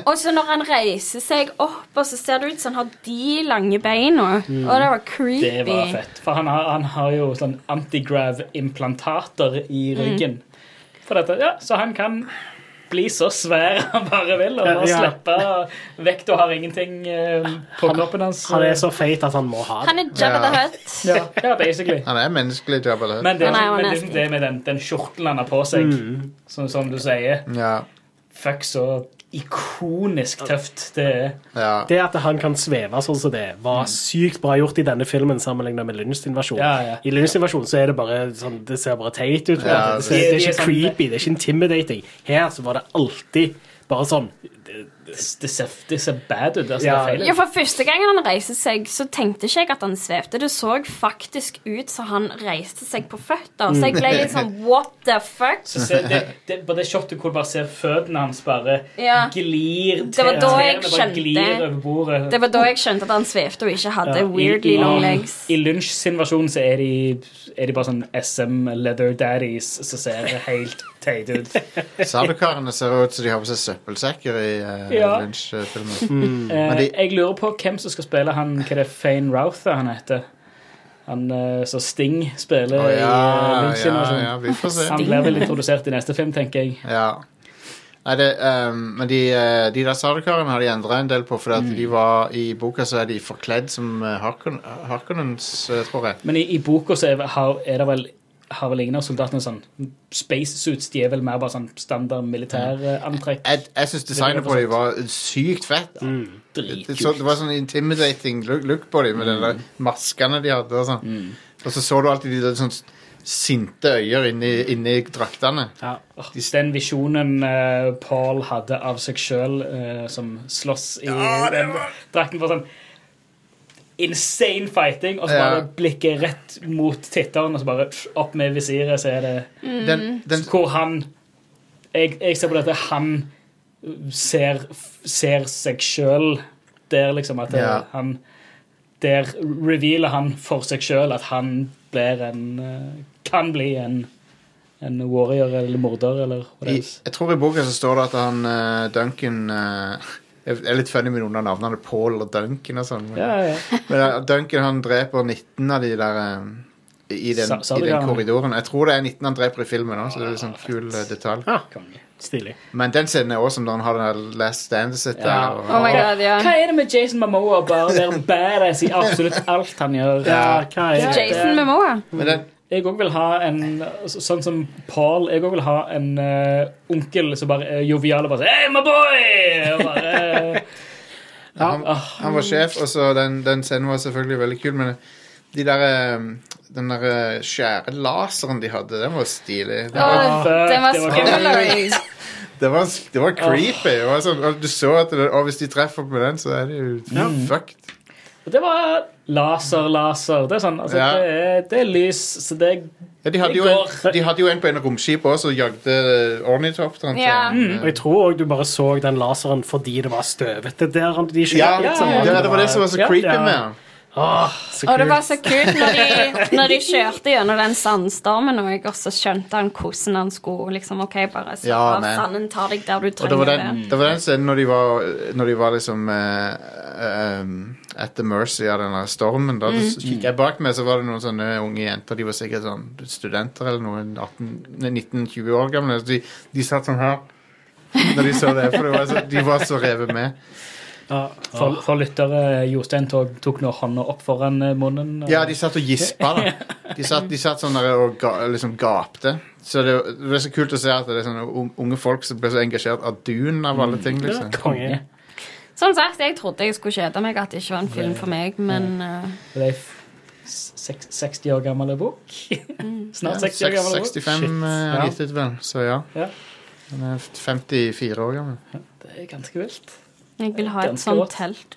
Og så når han reiser seg opp, og så ser det ut som han har de lange beina. Og det var creepy.
Det var fett. For han har, han har jo sånn antigrav-implantater i
Mm.
ryggen. For dette, ja, så han kan bli så svær [LAUGHS] han bare vil, og bare
Ja.
slippe vekt og har ingenting eh, på kroppen hans.
Han er så feit at han må ha det.
Han er Jabba the
Ja.
Hutt.
ja, ja, basically.
Han er menneskelig, Jabba the Hutt.
Men det, er
Han er jo
men det, er
nasty.
liksom det med den, den kjortelen han har på seg, som, som du sier
Ja,
Fuck, så ikonisk tøft det er.
ja.
Det at han kan sveve sånn som det, var sykt bra gjort i denne filmen sammenlignet med Lynch invasjon.
Mm. Ja, ja.
I Lynch invasjon så er det bare sånn, det ser bare teit ut. på en
Ja, det-
måte. det, ser, det er
det er sånn-
ikke
sant,
creepy, det er ikke intimidating. Her så var det alltid bare sånn
Det, det, ser, det ser bad ut. Altså,
Ja.
det er feil.
Ja, for første gang han reiste seg, så tenkte ikke jeg at han svevde. Det så faktisk ut som han reiste seg på føtter. Så jeg ble litt sånn what the fuck?
Så se, det, det, bare det shotet hvor du bare ser føttene hans bare
Ja.
glir til
Det var da jeg
tærne bare
skjønte-
glir over bordet.
Det var da jeg skjønte at han svevde og ikke hadde
Ja, i-
weirdly
i-
long legs.
I Lynch sin versjon så er de, er de bare sånn SM leather daddies som ser helt teite ut.
Sadukarene ser ut som de har på seg søppelsekker i uh,
Ja.
Lynch-filmen.
Eh,
de-
jeg lurer på hvem som skal spille han Hva det er Fane Routher han heter? Han eh, som Sting spiller
Å ja,
i eh, Lynch sin
ja,
versjon.
ja, vi får se.
Han blir vel introdusert i neste film, tenker jeg.
Ja. Nei, det, ehm, men de, eh, de der sadukarene har de endra en del på, for
Mm.
at de var, i boka så er de forkledd som eh, Harkon- Harkonnens, eh, tror jeg.
Men i, i boka så er, har, er det vel har vel ingen av soldatene sånn spacesuits? De er vel mer bare sånn standard militærantrekk?
Jeg, jeg syns designet på dem var sykt fett. Det, så, det
Mm. Dritkult. Mm.
var sånn intimidating look, look på dem med de der maskene de hadde. Og, sånn. og så så du alltid de der sånn sinte øyer inni, inni draktene.
ja.
Åh, Den visjonen eh, Paul hadde av seg sjøl som slåss i den drakten var sånn Insane fighting, og så
Ja.
bare blikket rett mot titteren, og så bare pff, opp med visiret, så er det
Den, den,
Hvor han Jeg, jeg ser på dette han ser, ser seg sjøl der, liksom. At det,
Ja.
han Der revealer han for seg sjøl at han blir en eh, Kan bli en en warrior eller morder eller hva det
i,
er.
jeg tror i boka så står det at han eh, Duncan eh, Jeg er litt funny med noen av navnene. Paul og Duncan og sånn. Men,
Ja, ja, ja.
men eh, Duncan han dreper 19 av de der eh, i den,
Sa- sa
i
du det,
den
Arne?
korridoren. Jeg tror det er 19 han dreper i filmen òg, så det er litt sånn kul eh, detalj.
Konge.
Stilig.
Men den scenen er awesome, da han har den der last standet sitt
Ja.
der.
Oh
Og,
my god, ja.
Hva er det med Jason Mamoa bare å være badass i absolutt alt han gjør?
Ja, hva er det?
Jason Momoa.
men den,
Jeg òg vil ha en så- Sånn som Paul. Jeg òg vil ha en eh, onkel som bare er jovial og bare sier 'Hey, my boy!' Og bare, eh,
Han,
Ah.
han var sjef, og så den, den scenen var selvfølgelig veldig kul, men de der, eh, den der eh, skjære laseren de hadde, den var stilig. Det
Å,
var,
fuck,
den var
det var
skummel.
gøy. det var, det var creepy. Det var sånn, og du så at det, og hvis de treffer på den, så er det jo fucked.
Og det var laser, laser. Det er sånn, altså,
Ja.
det, er, det er lys, så det er
Ja, de, hadde
Det
jo en,
går.
de hadde jo en på en romskip også, og jagde eh, ornitopteren til
Ja.
den, eh,
Og jeg tror også du bare så den laseren fordi det var støvete der. han- De skjøt
Ja,
litt sånn.
ja, det var det som var så
Ja,
creepy
ja.
med den.
Åh, så
Og det
kult.
var så kult når de, [LAUGHS] når de kjørte gjennom den sandstormen, og jeg også skjønte han hvordan han skulle liksom, OK, bare slapp
Ja,
av,
men-
sanden tar deg der du
Og det
trenger
var
det.
den, det var den scenen når de var, når de var liksom eh, eh, at the mercy av denne stormen. Da så kikket jeg bak meg, så var det noen sånne unge jenter. De var sikkert sånn studenter eller noen 19-20 år gamle. Så de, de satt sånn her når de så det, for det var så, de var så revet med.
Ja.
For, for lyttere, eh, Jostein tok, tok nå hånda opp foran eh, munnen. og-
Ja,
[LAUGHS]
de satt og gispa, da. De satt, de satt sånn der og ga, liksom gapte. Så det, det er så kult å se at det er sånne un- unge folk som ble så engasjert av Dune av alle ting, liksom.
Konge.
Som Sånn sagt, jeg trodde jeg skulle kjede meg, at det ikke var en film for meg, men eh,
Det er ei f- seks- 60 år gammel bok.
Mm.
Snart 60 år gammel bok.
65 er
Ja.
eh, gitt ut, vel. Så ja.
Ja.
Han er 54 år gammel. [LAUGHS]
Det er ganske vilt.
jeg vil ha et
Ganske
sånt
godt.
telt.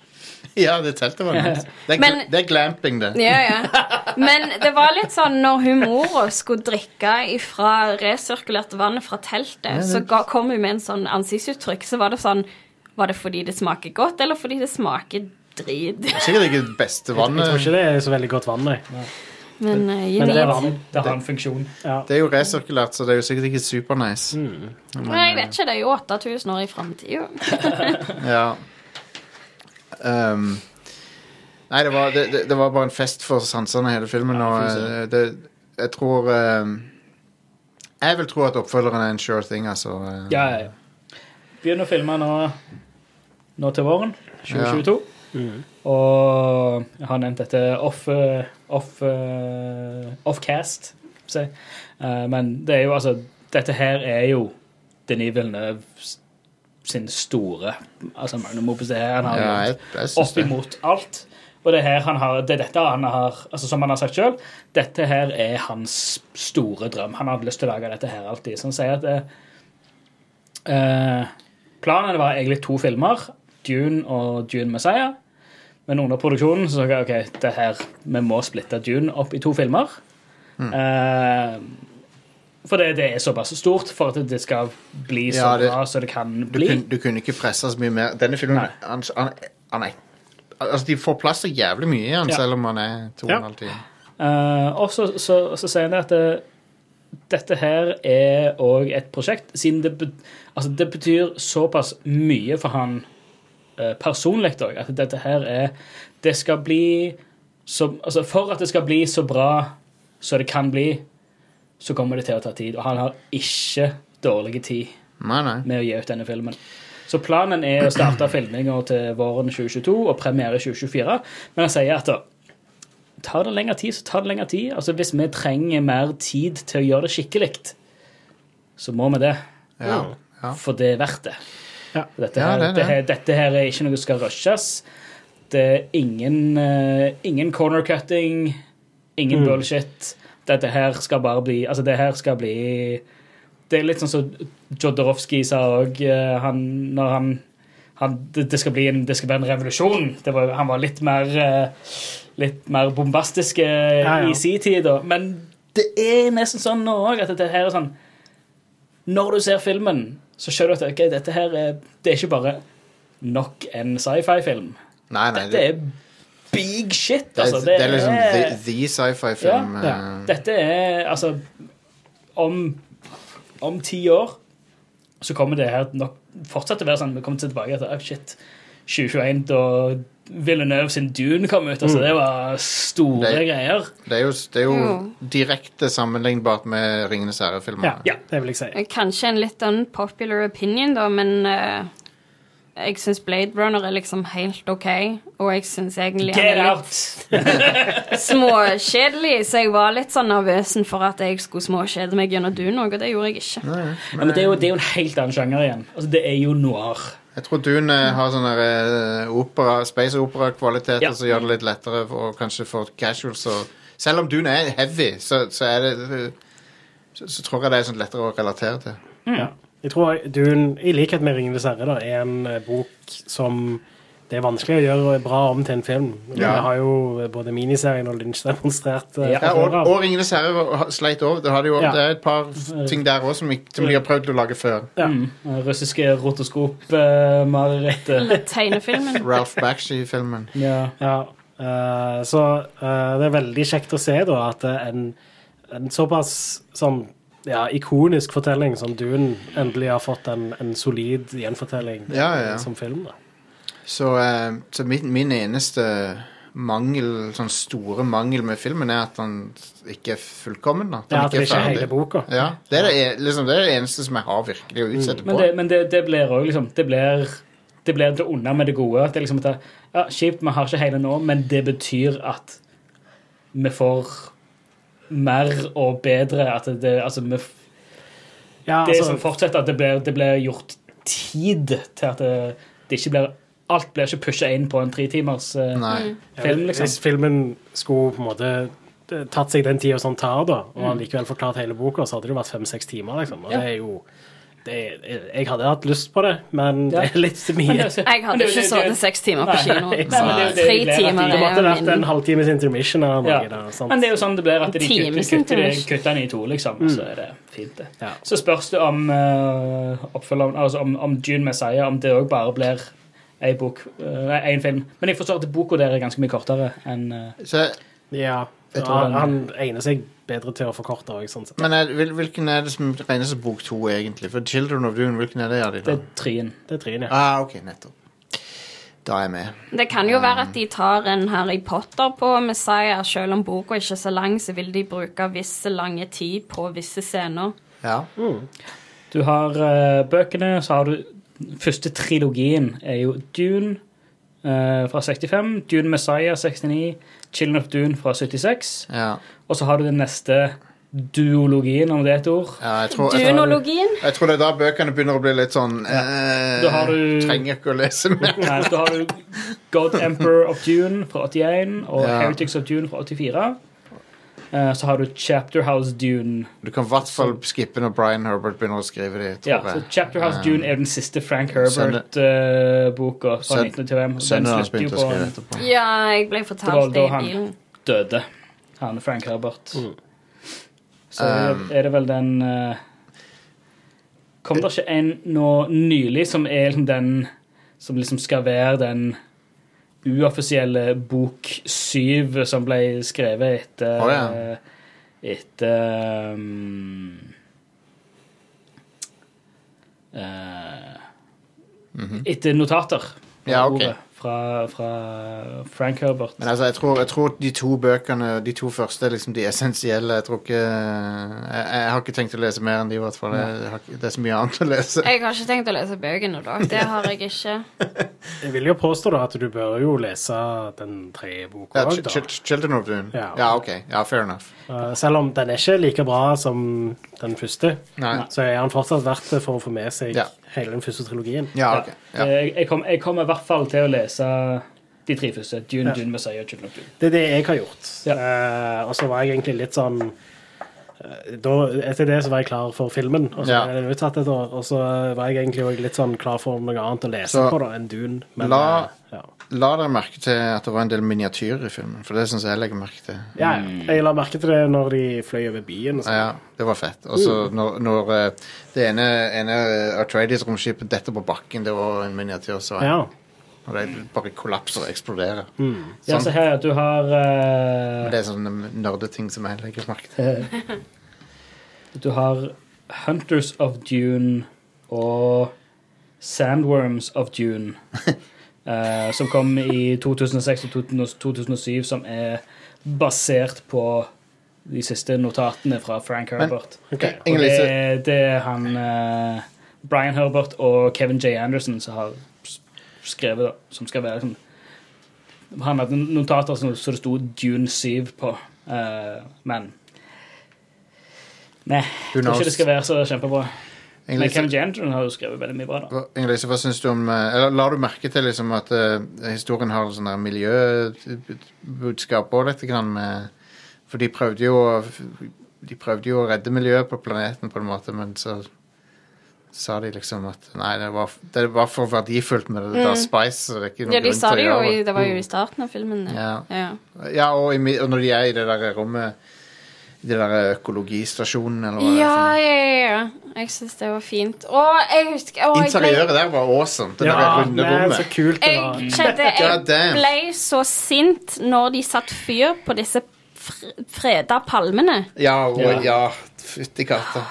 Ja, det teltet var nice. Det er, gl-
Men-
det er glamping, det.
Ja, ja. Men det var litt sånn når hun mora skulle drikke fra resirkulert vann fra teltet, så ga, kom hun med en sånn ansiktsuttrykk, så var det sånn Var det fordi det smaker godt, eller fordi det smaker drit?
Sikkert ikke det beste
Jeg tror
vannet.
ikke det er så veldig godt vann, nei.
Men uh,
Men det er
jeg,
vann.
Det har en funksjon.
Ja.
Det er jo resirkulert, så det er jo sikkert ikke supernice.
jeg vet ikke, det er jo 8000 år i framtida.
Ja. Ehm, nei, det var, det, det, det var bare en fest for sansene, hele filmen. og eh, det, jeg tror ehm, Jeg vil tro at oppfølgeren er en sure thing, altså. eh.
Ja, ja, ja. Begynner å filme nå, nå til våren, 2022. Og jeg har nevnt dette off, eh, off, eh, offcast, si. Eh, men det er jo altså Dette her er jo Denis Villeneuve s- sin store altså magnum opus. Det her han har
Ja,
gjort.
jeg, jeg syns
opp
det.
imot alt. Og det er her han har, det er dette han har altså Som han har sagt sjøl, dette her er hans store drøm. Han hadde lyst til å lage dette her alltid. Så han sier at eh, eh, Planen var egentlig to filmer, Dune og Dune Messiah. Men under produksjonen så sa jeg ok, det her, vi må splitte Dune opp i to filmer.
Mm.
Eh, for det, det er såpass stort for at det skal bli så
Ja, det-
bra som det kan
Du,
bli.
kunne- du kunne ikke presse så mye mer. Denne filmen
Nei.
han, han, han er, Altså, de får plass så jævlig mye i han,
Ja.
selv om han er to og en halv time.
Eh, og så, så, så sier han det at eh, dette her er òg et prosjekt, siden det, bet- altså, det betyr såpass mye for han eh, personlig òg, at dette her er Det skal bli så Altså, for at det skal bli så bra som det kan bli, så kommer det til å ta tid. Og han har ikke dårlig tid
Nei, nei.
med å gi ut denne filmen. Så planen er å starte filminga til våren 2022 og premiere i 2024. Men han sier at da, tar det lengre tid, så tar det lengre tid. Altså Hvis vi trenger mer tid til å gjøre det skikkelig, så må vi det.
Ja. Ja.
For det er verdt det.
Ja.
Dette,
Ja,
her,
det
det
er det.
her, dette her er ikke noe som skal rushes. Det er ingen, eh, ingen corner cutting,
Mm.
ingen bullshit. Dette her skal bare bli Altså, det her skal bli Det er litt sånn som Jodorowsky sa òg, han, når han han, det, det, skal bli en, det skal være en revolusjon. Det var, han var litt mer, eh, litt mer bombastisk eh,
Ja, ja.
i sin tid. da. Men det er nesten sånn nå òg at dette her er sånn Når du ser filmen, så skjønner du at ok, dette her er, det er ikke bare nok en sci-fi-film.
nei, nei
Dette er big shit,
det,
altså.
det, er liksom the, the eh. sci-fi-film.
Ja,
Ja,
ja.
dette er altså Om, om ti år så kommer det her nok fortsatt til å være sånn. Vi kommer tilbake til oh shit, 2021, da Villeneuve sin Dune kom ut. Altså, det var store
Det-
greier.
Det er jo, det er jo
Jo.
direkte sammenlignbart med Ringenes
Ja,
herre-filmene.
Ja.
det vil jeg si.
Kanskje en litt unpopular opinion, da, men eh, jeg syns Blade Runner er liksom helt OK, og jeg syns egentlig han
Get
er litt
out!
småkjedelig, så jeg var litt sånn nervøs for at jeg skulle småkjede meg gjennom Dune òg, og det gjorde jeg ikke.
Ja, men det er, jo, det er jo en helt annen sjanger igjen. Altså, det er jo noir.
Jeg tror Dune eh, har sånne eh, opera, space opera-kvaliteter
Ja.
som gjør det litt lettere for, og kanskje for casuals. å- selv om Dune er heavy, så, så er det eh, så, så tror jeg det er sånn lettere å relatere til.
Ja. Jeg tror Dune, i likhet med 'Ringenes herre', da, er en eh, bok som det er vanskelig å gjøre bra om til en film. Vi
Ja.
har jo eh, både miniserien og Lynch demonstrert. eh,
Ja.
fra
Ja, og,
før av.
og Ringenes herre var- ha- sleit òg. Det, hadde jo-
Ja.
det er et par ting der òg som, ikke- som de har prøvd å lage før.
Ja.
Mm. Russiske eh,
[LAUGHS]
rotoskop-marerittet.
Eller
[LAUGHS]
Tegnefilmen.
Ralph Bakshi-filmen.
Ja.
Ja, eh, så eh, det er veldig kjekt å se da at eh, en, en såpass sånn, ja, ikonisk fortelling som Dune endelig har fått en, en solid gjenfortelling
Ja, ja, ja.
som film. Da.
Så, eh, så min, min eneste mangel, sånn store mangel med filmen, er at den ikke er fullkommen. da. Den
Det er at det ikke er hele boka.
Ja, det er det, en- liksom, det er det eneste som jeg har virkelig
Mm.
å utsette
Men
på.
det, men det, det blir òg liksom Det blir det blir det onde med det gode. Det er liksom at det, ja, Kjipt, vi har ikke hele nå, men det betyr at vi får mer og bedre. At det, altså, vi, f-
Ja,
det
altså,
som fortsetter, at det blir, det blir gjort tid til at det, det ikke blir Alt blir ikke pusha inn på en tretimers eh,
Nei.
film,
Hvis
liksom.
filmen skulle på en måte eh, tatt seg den tida som tar, da, og allikevel forklart hele boka, så hadde det jo vært fem-seks timer. liksom.
Mm.
Og
Ja.
det er jo... Det, jeg hadde hatt lyst på det, men
Ja.
det er litt mye.
Men det er så-
Jeg
men
hadde
det er jo
ikke
det-
sittet
det-
seks timer på
Nei,
kino.
nei,
men det er jo det
Tre
jeg gleder
timer
meg til.
[LAUGHS] Det
er
måtte vært en
min
halvtimes intermission eller noe
Ja.
der.
Men
sant?
det er jo sånn det blir at de
En
kutter,
times
kutter,
intermission.
kutter den i to, liksom. Og så er det fint, det.
Ja.
Så spørs det om uh, oppfølgeren, altså om, om June Messiah, om det òg bare blir ei bok, eh, en film. Men jeg forstår at boka der er ganske mye kortere enn eh,
Så,
Ja.
Jeg
tror
Han,
den-
han egner seg bedre til å forkorte òg, sånn sett.
men er, hvil- hvilken er det som regnes som bok to, egentlig? For Children of Dune, hvilken er det av de da?
det trien.
Det er Trine.
Ah, ok, nettopp. Da er jeg med.
Det kan jo være at de tar en Harry Potter på Messiah. Selv om boka ikke er så lang, så vil de bruke visse lange tid på visse scener.
Ja.
Du har eh, bøkene, så har du Første trilogien er jo Dune eh, fra 65, Dune Messiah 69, Children of Dune fra 76,
ja.
og så har du den neste duologien, om det er et ord.
ja jeg, tror, jeg, tror,
Dunologien.
jeg tror det er da bøkene begynner å bli litt sånn eh,
Da har du-
Trenger ikke å lese mer.
Nei, da har du God Emperor of Dune fra 81 og
Ja.
Heretics of Dune fra 84. Eh, Så har du Chapter House Dune.
Du kan i hvert fall skippe når Brian Herbert begynner å skrive de,
Ja,
tror
så
jeg.
Chapter House
Um,
Dune er den siste Frank
Sønnen-
Herbert-boka fra
Sønnen-
1925. Den
Sønnen hans
slutter jo
begynte å
på
skrive
han
etterpå.
Ja, jeg ble fortalt det
Det var da
i
han-
bilen.
døde, han Frank Herbert.
Mm.
Så er
Um,
det- er det vel den eh, Kom det ikke en nå nylig som er liksom den som liksom skal være den uoffisielle bok syv som ble skrevet etter eh,
Å, ja.
Etter um, eh, Etter notater. fra
Mhm. Ja, ok.
ordet, Fra, fra Frank Herbert.
Men altså, jeg tror, jeg tror de to bøkene, de to første, er liksom de essensielle. Jeg tror ikke Jeg, jeg har ikke tenkt å lese mer enn de, i hvert fall. Jeg, har ikke, det er så mye annet å
[LAUGHS]
lese.
Jeg har ikke tenkt å lese bøkene, da. Det har jeg
[LAUGHS]
ikke.
Jeg vil jo påstå da at du bør jo lese den tredje boka
Ja,
òg,
Ch-
da.
Ch- Children of Dune.
Ja.
Ja, OK. Ja, fair enough.
Eh, Selv om den er ikke like bra som den første,
Nei.
så er han fortsatt verdt det for å få med seg
Ja.
hele den første trilogien.
Ja, ok. Ja.
Eh, Jeg, jeg, kom, jeg kommer i hvert fall til å lese de tre første. Dune,
Ja.
Dune, Messiah, Children of Dune.
Det er det jeg har gjort.
Ja.
Eh, og så var jeg egentlig litt sånn eh, da, Etter det så var jeg klar for filmen, og så
Ja.
ble den utsatt et år. Og så var jeg egentlig også litt sånn klar for noe annet å lese
Så-
på da, enn Dune. Men,
La-
eh, ja.
La dere merke til at det var en del miniatyrer i filmen, for det syns jeg jeg legger merke til.
Ja,
Mm.
ja. jeg la merke til det når de fløy over byen.
Ja,
Og sånn.
ja, det var fett. Og så
Mm.
når, når eh, det ene, ene Atreides-romskipet detter på bakken, det var en miniatyr, så
ja.
Og det bare kollapser og eksploderer.
Mm. Ja, så her du har
Sånn. Men
eh,
Det er sånne nerdeting som jeg legger merke til.
Du har Hunters of Dune og Sandworms of
[LAUGHS]
Dune, eh, som kom i 2006 og 2000 2007, som er basert på de siste notatene fra Frank Herbert.
Ok.
Og
Inger
det,
Lise,
det er han eh, Brian Herbert og Kevin J. Anderson som har s- skrevet, da, som skal være liksom, Han hadde notater som så det sto Dune 7 på, eh, men Nei, jeg
Who
tror ikke det
knows?
skal være så kjempebra.
Inger
Men
Lise-
Kevin J. Anderson har jo skrevet veldig mye bra, da.
Hva- Inger Lise, hva syns du om eh, Eller la du merke til liksom at eh, historien har sånn der miljøbudskap òg, dette grann med For de prøvde jo å De prøvde jo å redde miljøet på planeten, på en måte, men så sa de liksom at nei, det var, det var for verdifullt med det der
Mm.
Spice. Så det er ikke noen
Ja, de
grunn
sa
til
det
å
jo
gjøre
i Det var jo i starten av filmen.
det.
Ja.
Ja.
Ja.
Ja, og, i, mi- og når de er i det der rommet i det der økologistasjonen, eller hva
Ja,
det sånn. er. for noe.
ja, ja, ja. Jeg syns det var fint. Å, jeg husker å, jeg ble-
Interiøret der var awesome. Det der
Ja,
runde
men så
rommet.
kult det var.
Jeg kjente
[LAUGHS] God damn.
jeg ble så sint når de satt fyr på disse fr- freda palmene.
Ja, og,
Ja.
ja. Fytti katta.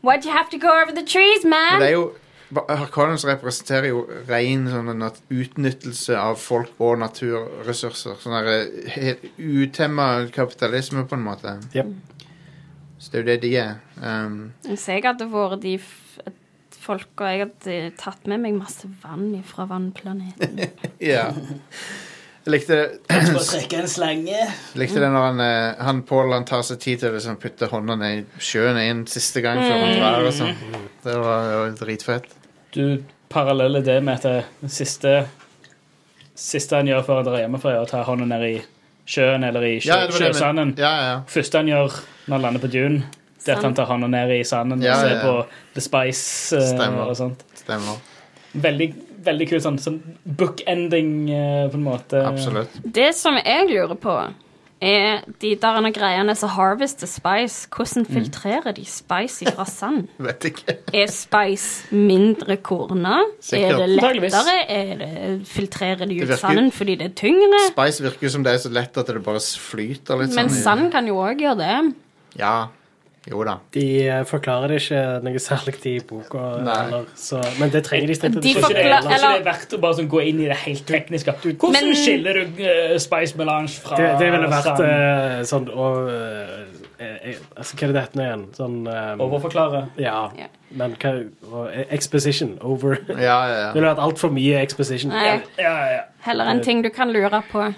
Why'd you have to go over the trees,
Men
man?
det er jo Ba- Harkonnens representerer jo ren sånn nat- utnyttelse av folk og naturressurser. Sånn der, eh, helt utemma kapitalisme, på en måte.
Jep.
Så det er jo det de er. Um,
Hvis jeg hadde vært de f- folka jeg hadde tatt med meg masse vann fra vannplaneten.
ja. Jeg likte,
Skal trekke en slange.
likte det når han, eh, han Paul han tar seg tid til å liksom putte hånda ned i sjøen inn siste gang før han drar. og sånn. Det var, det var dritfett.
Du paralleller det med at eh, det siste, siste han gjør før han drar hjemmefra, er å ta hånda ned i sjøen eller i sjø,
Ja, det var det med-
sjøsanden.
Ja, ja.
Første han gjør når han lander på dune, det er at han tar hånda ned i sanden
Ja,
og ser
ja, ja.
på The Spice. eh,
Stemmer.
og sånt.
Stemmer.
Veldig, veldig kult sånn, sånn bookending, eh, på en måte.
Absolutt.
Det som jeg lurer på, er de der andre greiene som harvester spice. Hvordan
Mm.
filtrerer de spice fra sand?
Vet ikke.
Er spice mindre korna? Er
Sikkert.
det
Antageligvis.
lettere? Er det, filtrerer de
Det
ut
virker-
sanden fordi det er tyngre?
Spice virker jo som det er så lett at det bare flyter litt
Men
sånn. i-
sand kan jo òg gjøre det.
Ja. Jo da.
De eh, forklarer det ikke noe særlig i boka,
Nei.
eller, så, men det trenger de strengt
De
tatt
Tror ikke det, tror ikke
forklar-
det
eller-
er verdt å bare sånn gå inn i det helt tekniske. Hvordan
Men-
skiller du eh, spice melange fra
Det, det ville vært
sand?
eh, sånn og, eh, eh, altså, Hva er det det heter nå igjen? Sånn eh,
Overforklare.
Ja,
Ja.
men hva og, eh, Exposition. Over. [LAUGHS] Det
Ja, ja, ja.
ville vært altfor mye exposition.
Nei.
Ja, ja, ja.
Heller en ting du kan lure på.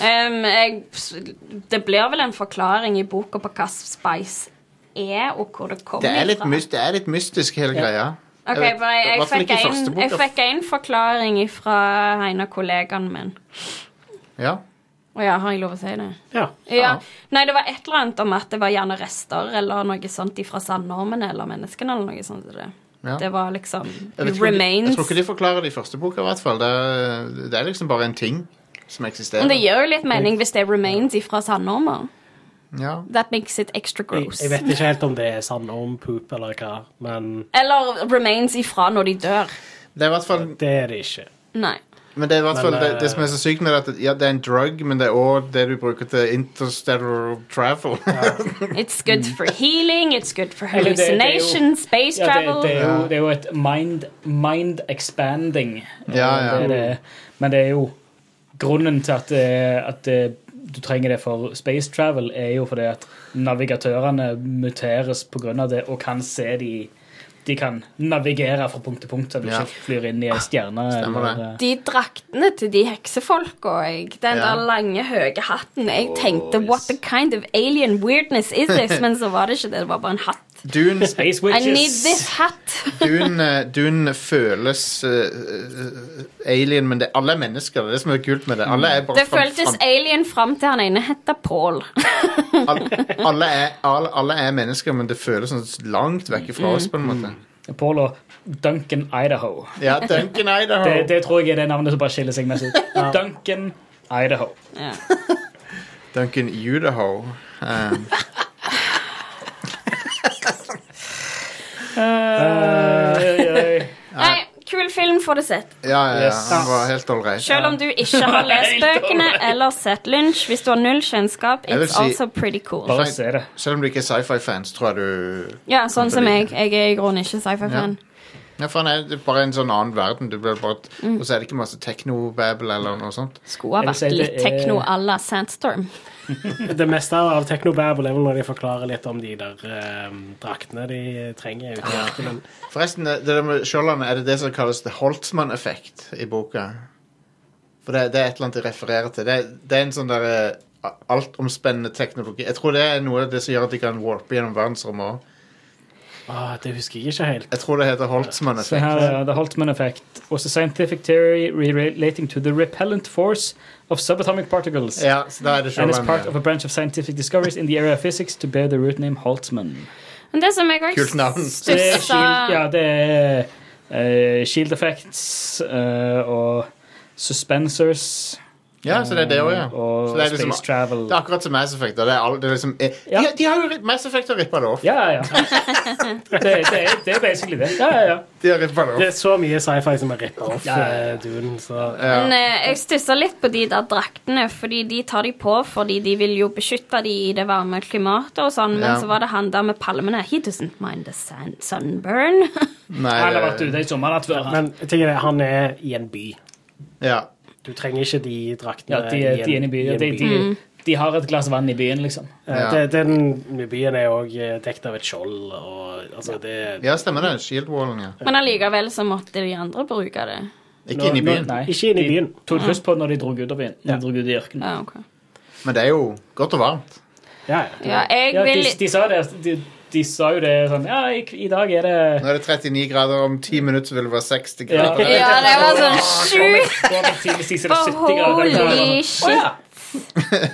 Ehm, jeg, det blir vel en forklaring i boka på hva Spice er, og hvor det kommer
Det er litt,
ifra.
mys det er litt mystisk, hele greia.
Ok,
vet-
for jeg,
i
jeg,
hvert fall
fikk
ikke i første
en,
bok, altså.
jeg
da.
fikk en forklaring fra en av kollegaen min.
Ja.
Å ja, har jeg lov å si det?
Ja.
Ja. Nei, det var et eller annet om at det var gjerne rester eller noe sånt fra sandormene eller menneskene eller noe sånt. Det,
Ja.
det var liksom
Jeg, vet ikke om de, jeg
remains.
tror ikke de forklarer det i første boka, i hvert fall. Det er, det er liksom bare en ting som eksisterer.
Men det gir jo litt mening hvis det er remains fra sandormer.
Ja.
That makes it extra
Jeg,
gross.
jeg vet ikke helt om det er sandorm, poop eller hva, men
Eller remains ifra når de dør.
Det er i hvert fall,
det er det ikke.
Nei.
[LAUGHS] men det, er i hvert
Men,
fall det,
eh,
det som er så sykt med det, er at ja, det er en drug, men det er òg det du bruker til interstellar travel.
It's good for healing, it's good for
Eller det- det er jo-
hallucination, space
Ja, det,
travel.
det, er jo,
Ja.
det er jo et mind, mind expanding. eh,
Ja, ja.
Det, er det, men det er jo grunnen til at, eh, at eh, du trenger det for space travel, er jo fordi at navigatørene muteres pga. det og kan se de De kan navigere fra punkt til punkt, så du
Ja. Ah,
ikke flyr inn i en stjerne.
Stemmer det.
eller, eh,
De draktene til de heksefolka, jeg. Den
Ja.
der lange, høye hatten. Jeg
Åh,
tenkte
yes.
what the kind of alien weirdness is this? Men så var det ikke det. Det var bare en hatt.
[LAUGHS] Dune,
eh, Space
I
witches.
need this hat.
Dune, eh, Dune føles eh, eh, alien, men det, alle er mennesker. Det er det som er kult med det. Alle er bare
Det
fram-
føltes
fram-
alien fram til han ene heta Paul.
al- alle, er, alle, alle er mennesker, men det føles sånn langt vekk fra oss, på en måte.
Mm. Paul og Duncan Idaho.
Ja, Duncan Idaho.
Det, det tror jeg er det navnet som bare skiller seg
[LAUGHS]
mest ut. Duncan Idaho.
Ja.
Duncan Udaho. Um,
Oi, oi.
Nei, kul film, får du sett.
ja, ja, ja,
Yes.
han var helt ålreit.
Selv om du ikke har
[LAUGHS]
lest
Helt
bøkene
alright.
eller sett Lunsj. Hvis du har null kjennskap,
Jeg vil
it's
si-
also pretty cool.
Bare se det.
Selv om du ikke er sci-fi-fans, tror jeg du
Ja, sånn som jeg. Jeg er i grunnen ikke sci-fi-fan.
Ja, for han er det er bare en sånn annen verden. Du blir bare,
Mm.
Og så er det ikke masse techno-babel eller noe sånt.
Skulle ha
Jeg vil
vært
si det
litt tekno
er-
à la Sandstorm.
Det meste av Technobabble er vel når de forklarer litt om de der eh, draktene de trenger. Ute i
Ah.
ørkenen.
Forresten, det der med Skjoldene, er det det som kalles The Holtzmann-effekt i boka? For det, det er et eller annet de refererer til. Det, det er en sånn derre altomspennende teknologi. Jeg tror det er noe av det som gjør at de kan warpe gjennom verdensrommet òg.
Åh, ah, det husker jeg ikke helt.
Jeg tror det heter
Så
Holtzmann-effekt.
her eh, er The Holtman Effect. Was a scientific theory re- relating to the repellent force of subatomic particles.
Ja, eh, så da er det
And is part
Skjoldene.
of a branch of scientific discoveries in the area of physics to bear the root name Holtzman.
Men det som jeg
Kult
også
navn.
Så det er
stussa
shield, ja, det er eh, shield effects eh, og suspensors
Ja, så det er det òg, ja.
Og
Så det er liksom-
uh, space travel.
Det er akkurat som Mass Effect. og Det er all, det er liksom, eh,
Ja.
de, de har jo ripp- Mass Effect har rippa det off.
Ja, ja, ja. Det, det, er- det er basically det. Ja, ja, ja.
De har rippet det off.
Det er så mye sci-fi som er rippet off
Ja, ja, ja.
eh, Dune, så
Ja.
Men eh, jeg stussa litt på de der draktene, fordi de tar de på fordi de vil jo beskytte de i det varme klimatet og sånn, men
Ja.
så var det han der med palmene. He doesn't mind the sun sunburn. [LAUGHS]
Nei,
Han har
det-
vært ute i sommernatt før. han.
Men tingen er, han er i en by.
ja.
Du trenger ikke de draktene
Ja, de, er- de er inne i byen. De, de, de har et glass vann i byen, liksom.
Eh,
Ja.
det- Den byen er òg dekt av et skjold, og altså det
ja, stemmer det. Shield-wallen, ja.
men allikevel så måtte de andre bruke det.
Ikke
Nå-
inne i
nå-
byen.
nei,
Ikke inn i byen.
De tok pust på når de dro ut av byen. Når de dro ut i ørkenen.
Ja, ok.
Men det er jo godt og varmt.
Ja, ja.
Ja, jeg
Ja, de,
vil
de, sa det, de, de sa jo det sånn Ja, i, i dag er det
Nå er det 39 grader, om 10 minutter så vil det være 60
Ja.
grader.
Ja, det var sånn sjukt! Holy
Holy
shit.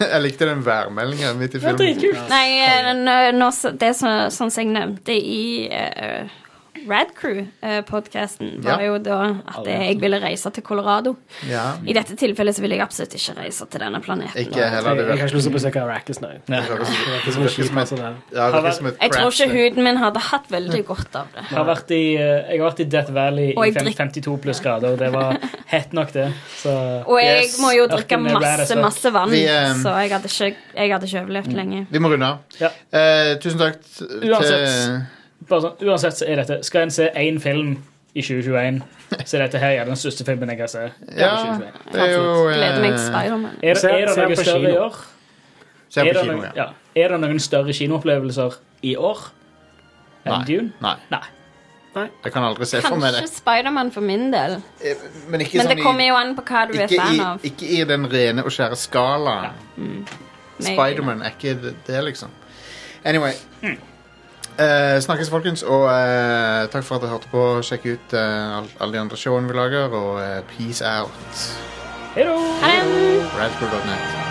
Jeg likte den værmeldinga midt i
Det
filmen.
er dritkult.
Nei, eh, nå- nå, så- det som sånn som jeg nevnte i eh, Rad Crew-podkasten, var
Ja.
jo da at jeg ville reise til Colorado.
Ja.
I dette tilfellet så vil jeg absolutt ikke reise til denne planeten.
Ikke heller det.
Jeg, jeg har
virker-
ikke lyst til å besøke Arrakis, nei.
det virker som-
Det er ikke
det
som en
virker som
skip,
et-
sånn
altså, det.
ja, det virker som et
Jeg tror
crap
ikke
sted.
huden min hadde
[LAUGHS]
hatt veldig godt av det.
Jeg har, vært i, eh, jeg har vært i Death Valley
Og
i
jeg
fem-
drikker.
52 pluss grader. og Det var hett nok, det. Så,
Og jeg
yes,
må jo drikke
ørkenen er rad as
masse,
fuck.
masse vann,
Vi, Mm. eh,
så jeg hadde ikke, jeg hadde ikke overlevd lenge.
Vi må runde av.
Ja.
Eh, tusen takk t- til
Uansett. Bare sånn, uansett så er dette Skal en se én film i 2021, så er dette her er den største filmen jeg kan se. i
Ja,
2021.
det er jo eh,
Gleder meg til Spiderman.
Er,
Se-
det- er det
se den
noe
på
større i
kino.
år?
Se
Er
på
det,
kino,
noen,
ja.
ja. er det noen større kinoopplevelser i år enn
Nei.
Dune?
Nei.
Nei.
Jeg kan aldri se for meg det.
Kanskje Spiderman for min del,
Eh, Men ikke
men
sånn
det kommer jo an på hva du
i,
er
ikke,
fan
i,
av.
ikke i den rene og skjære skalaen.
Meg.
Spiderman er ikke det, det, liksom. Anyway. Eh, snakkes, folkens, og eh, takk for at dere hørte på. Sjekk ut eh, all- alle de andre showene vi lager, og eh, peace out.
Hei da!
Ha det!
Radcrew.net.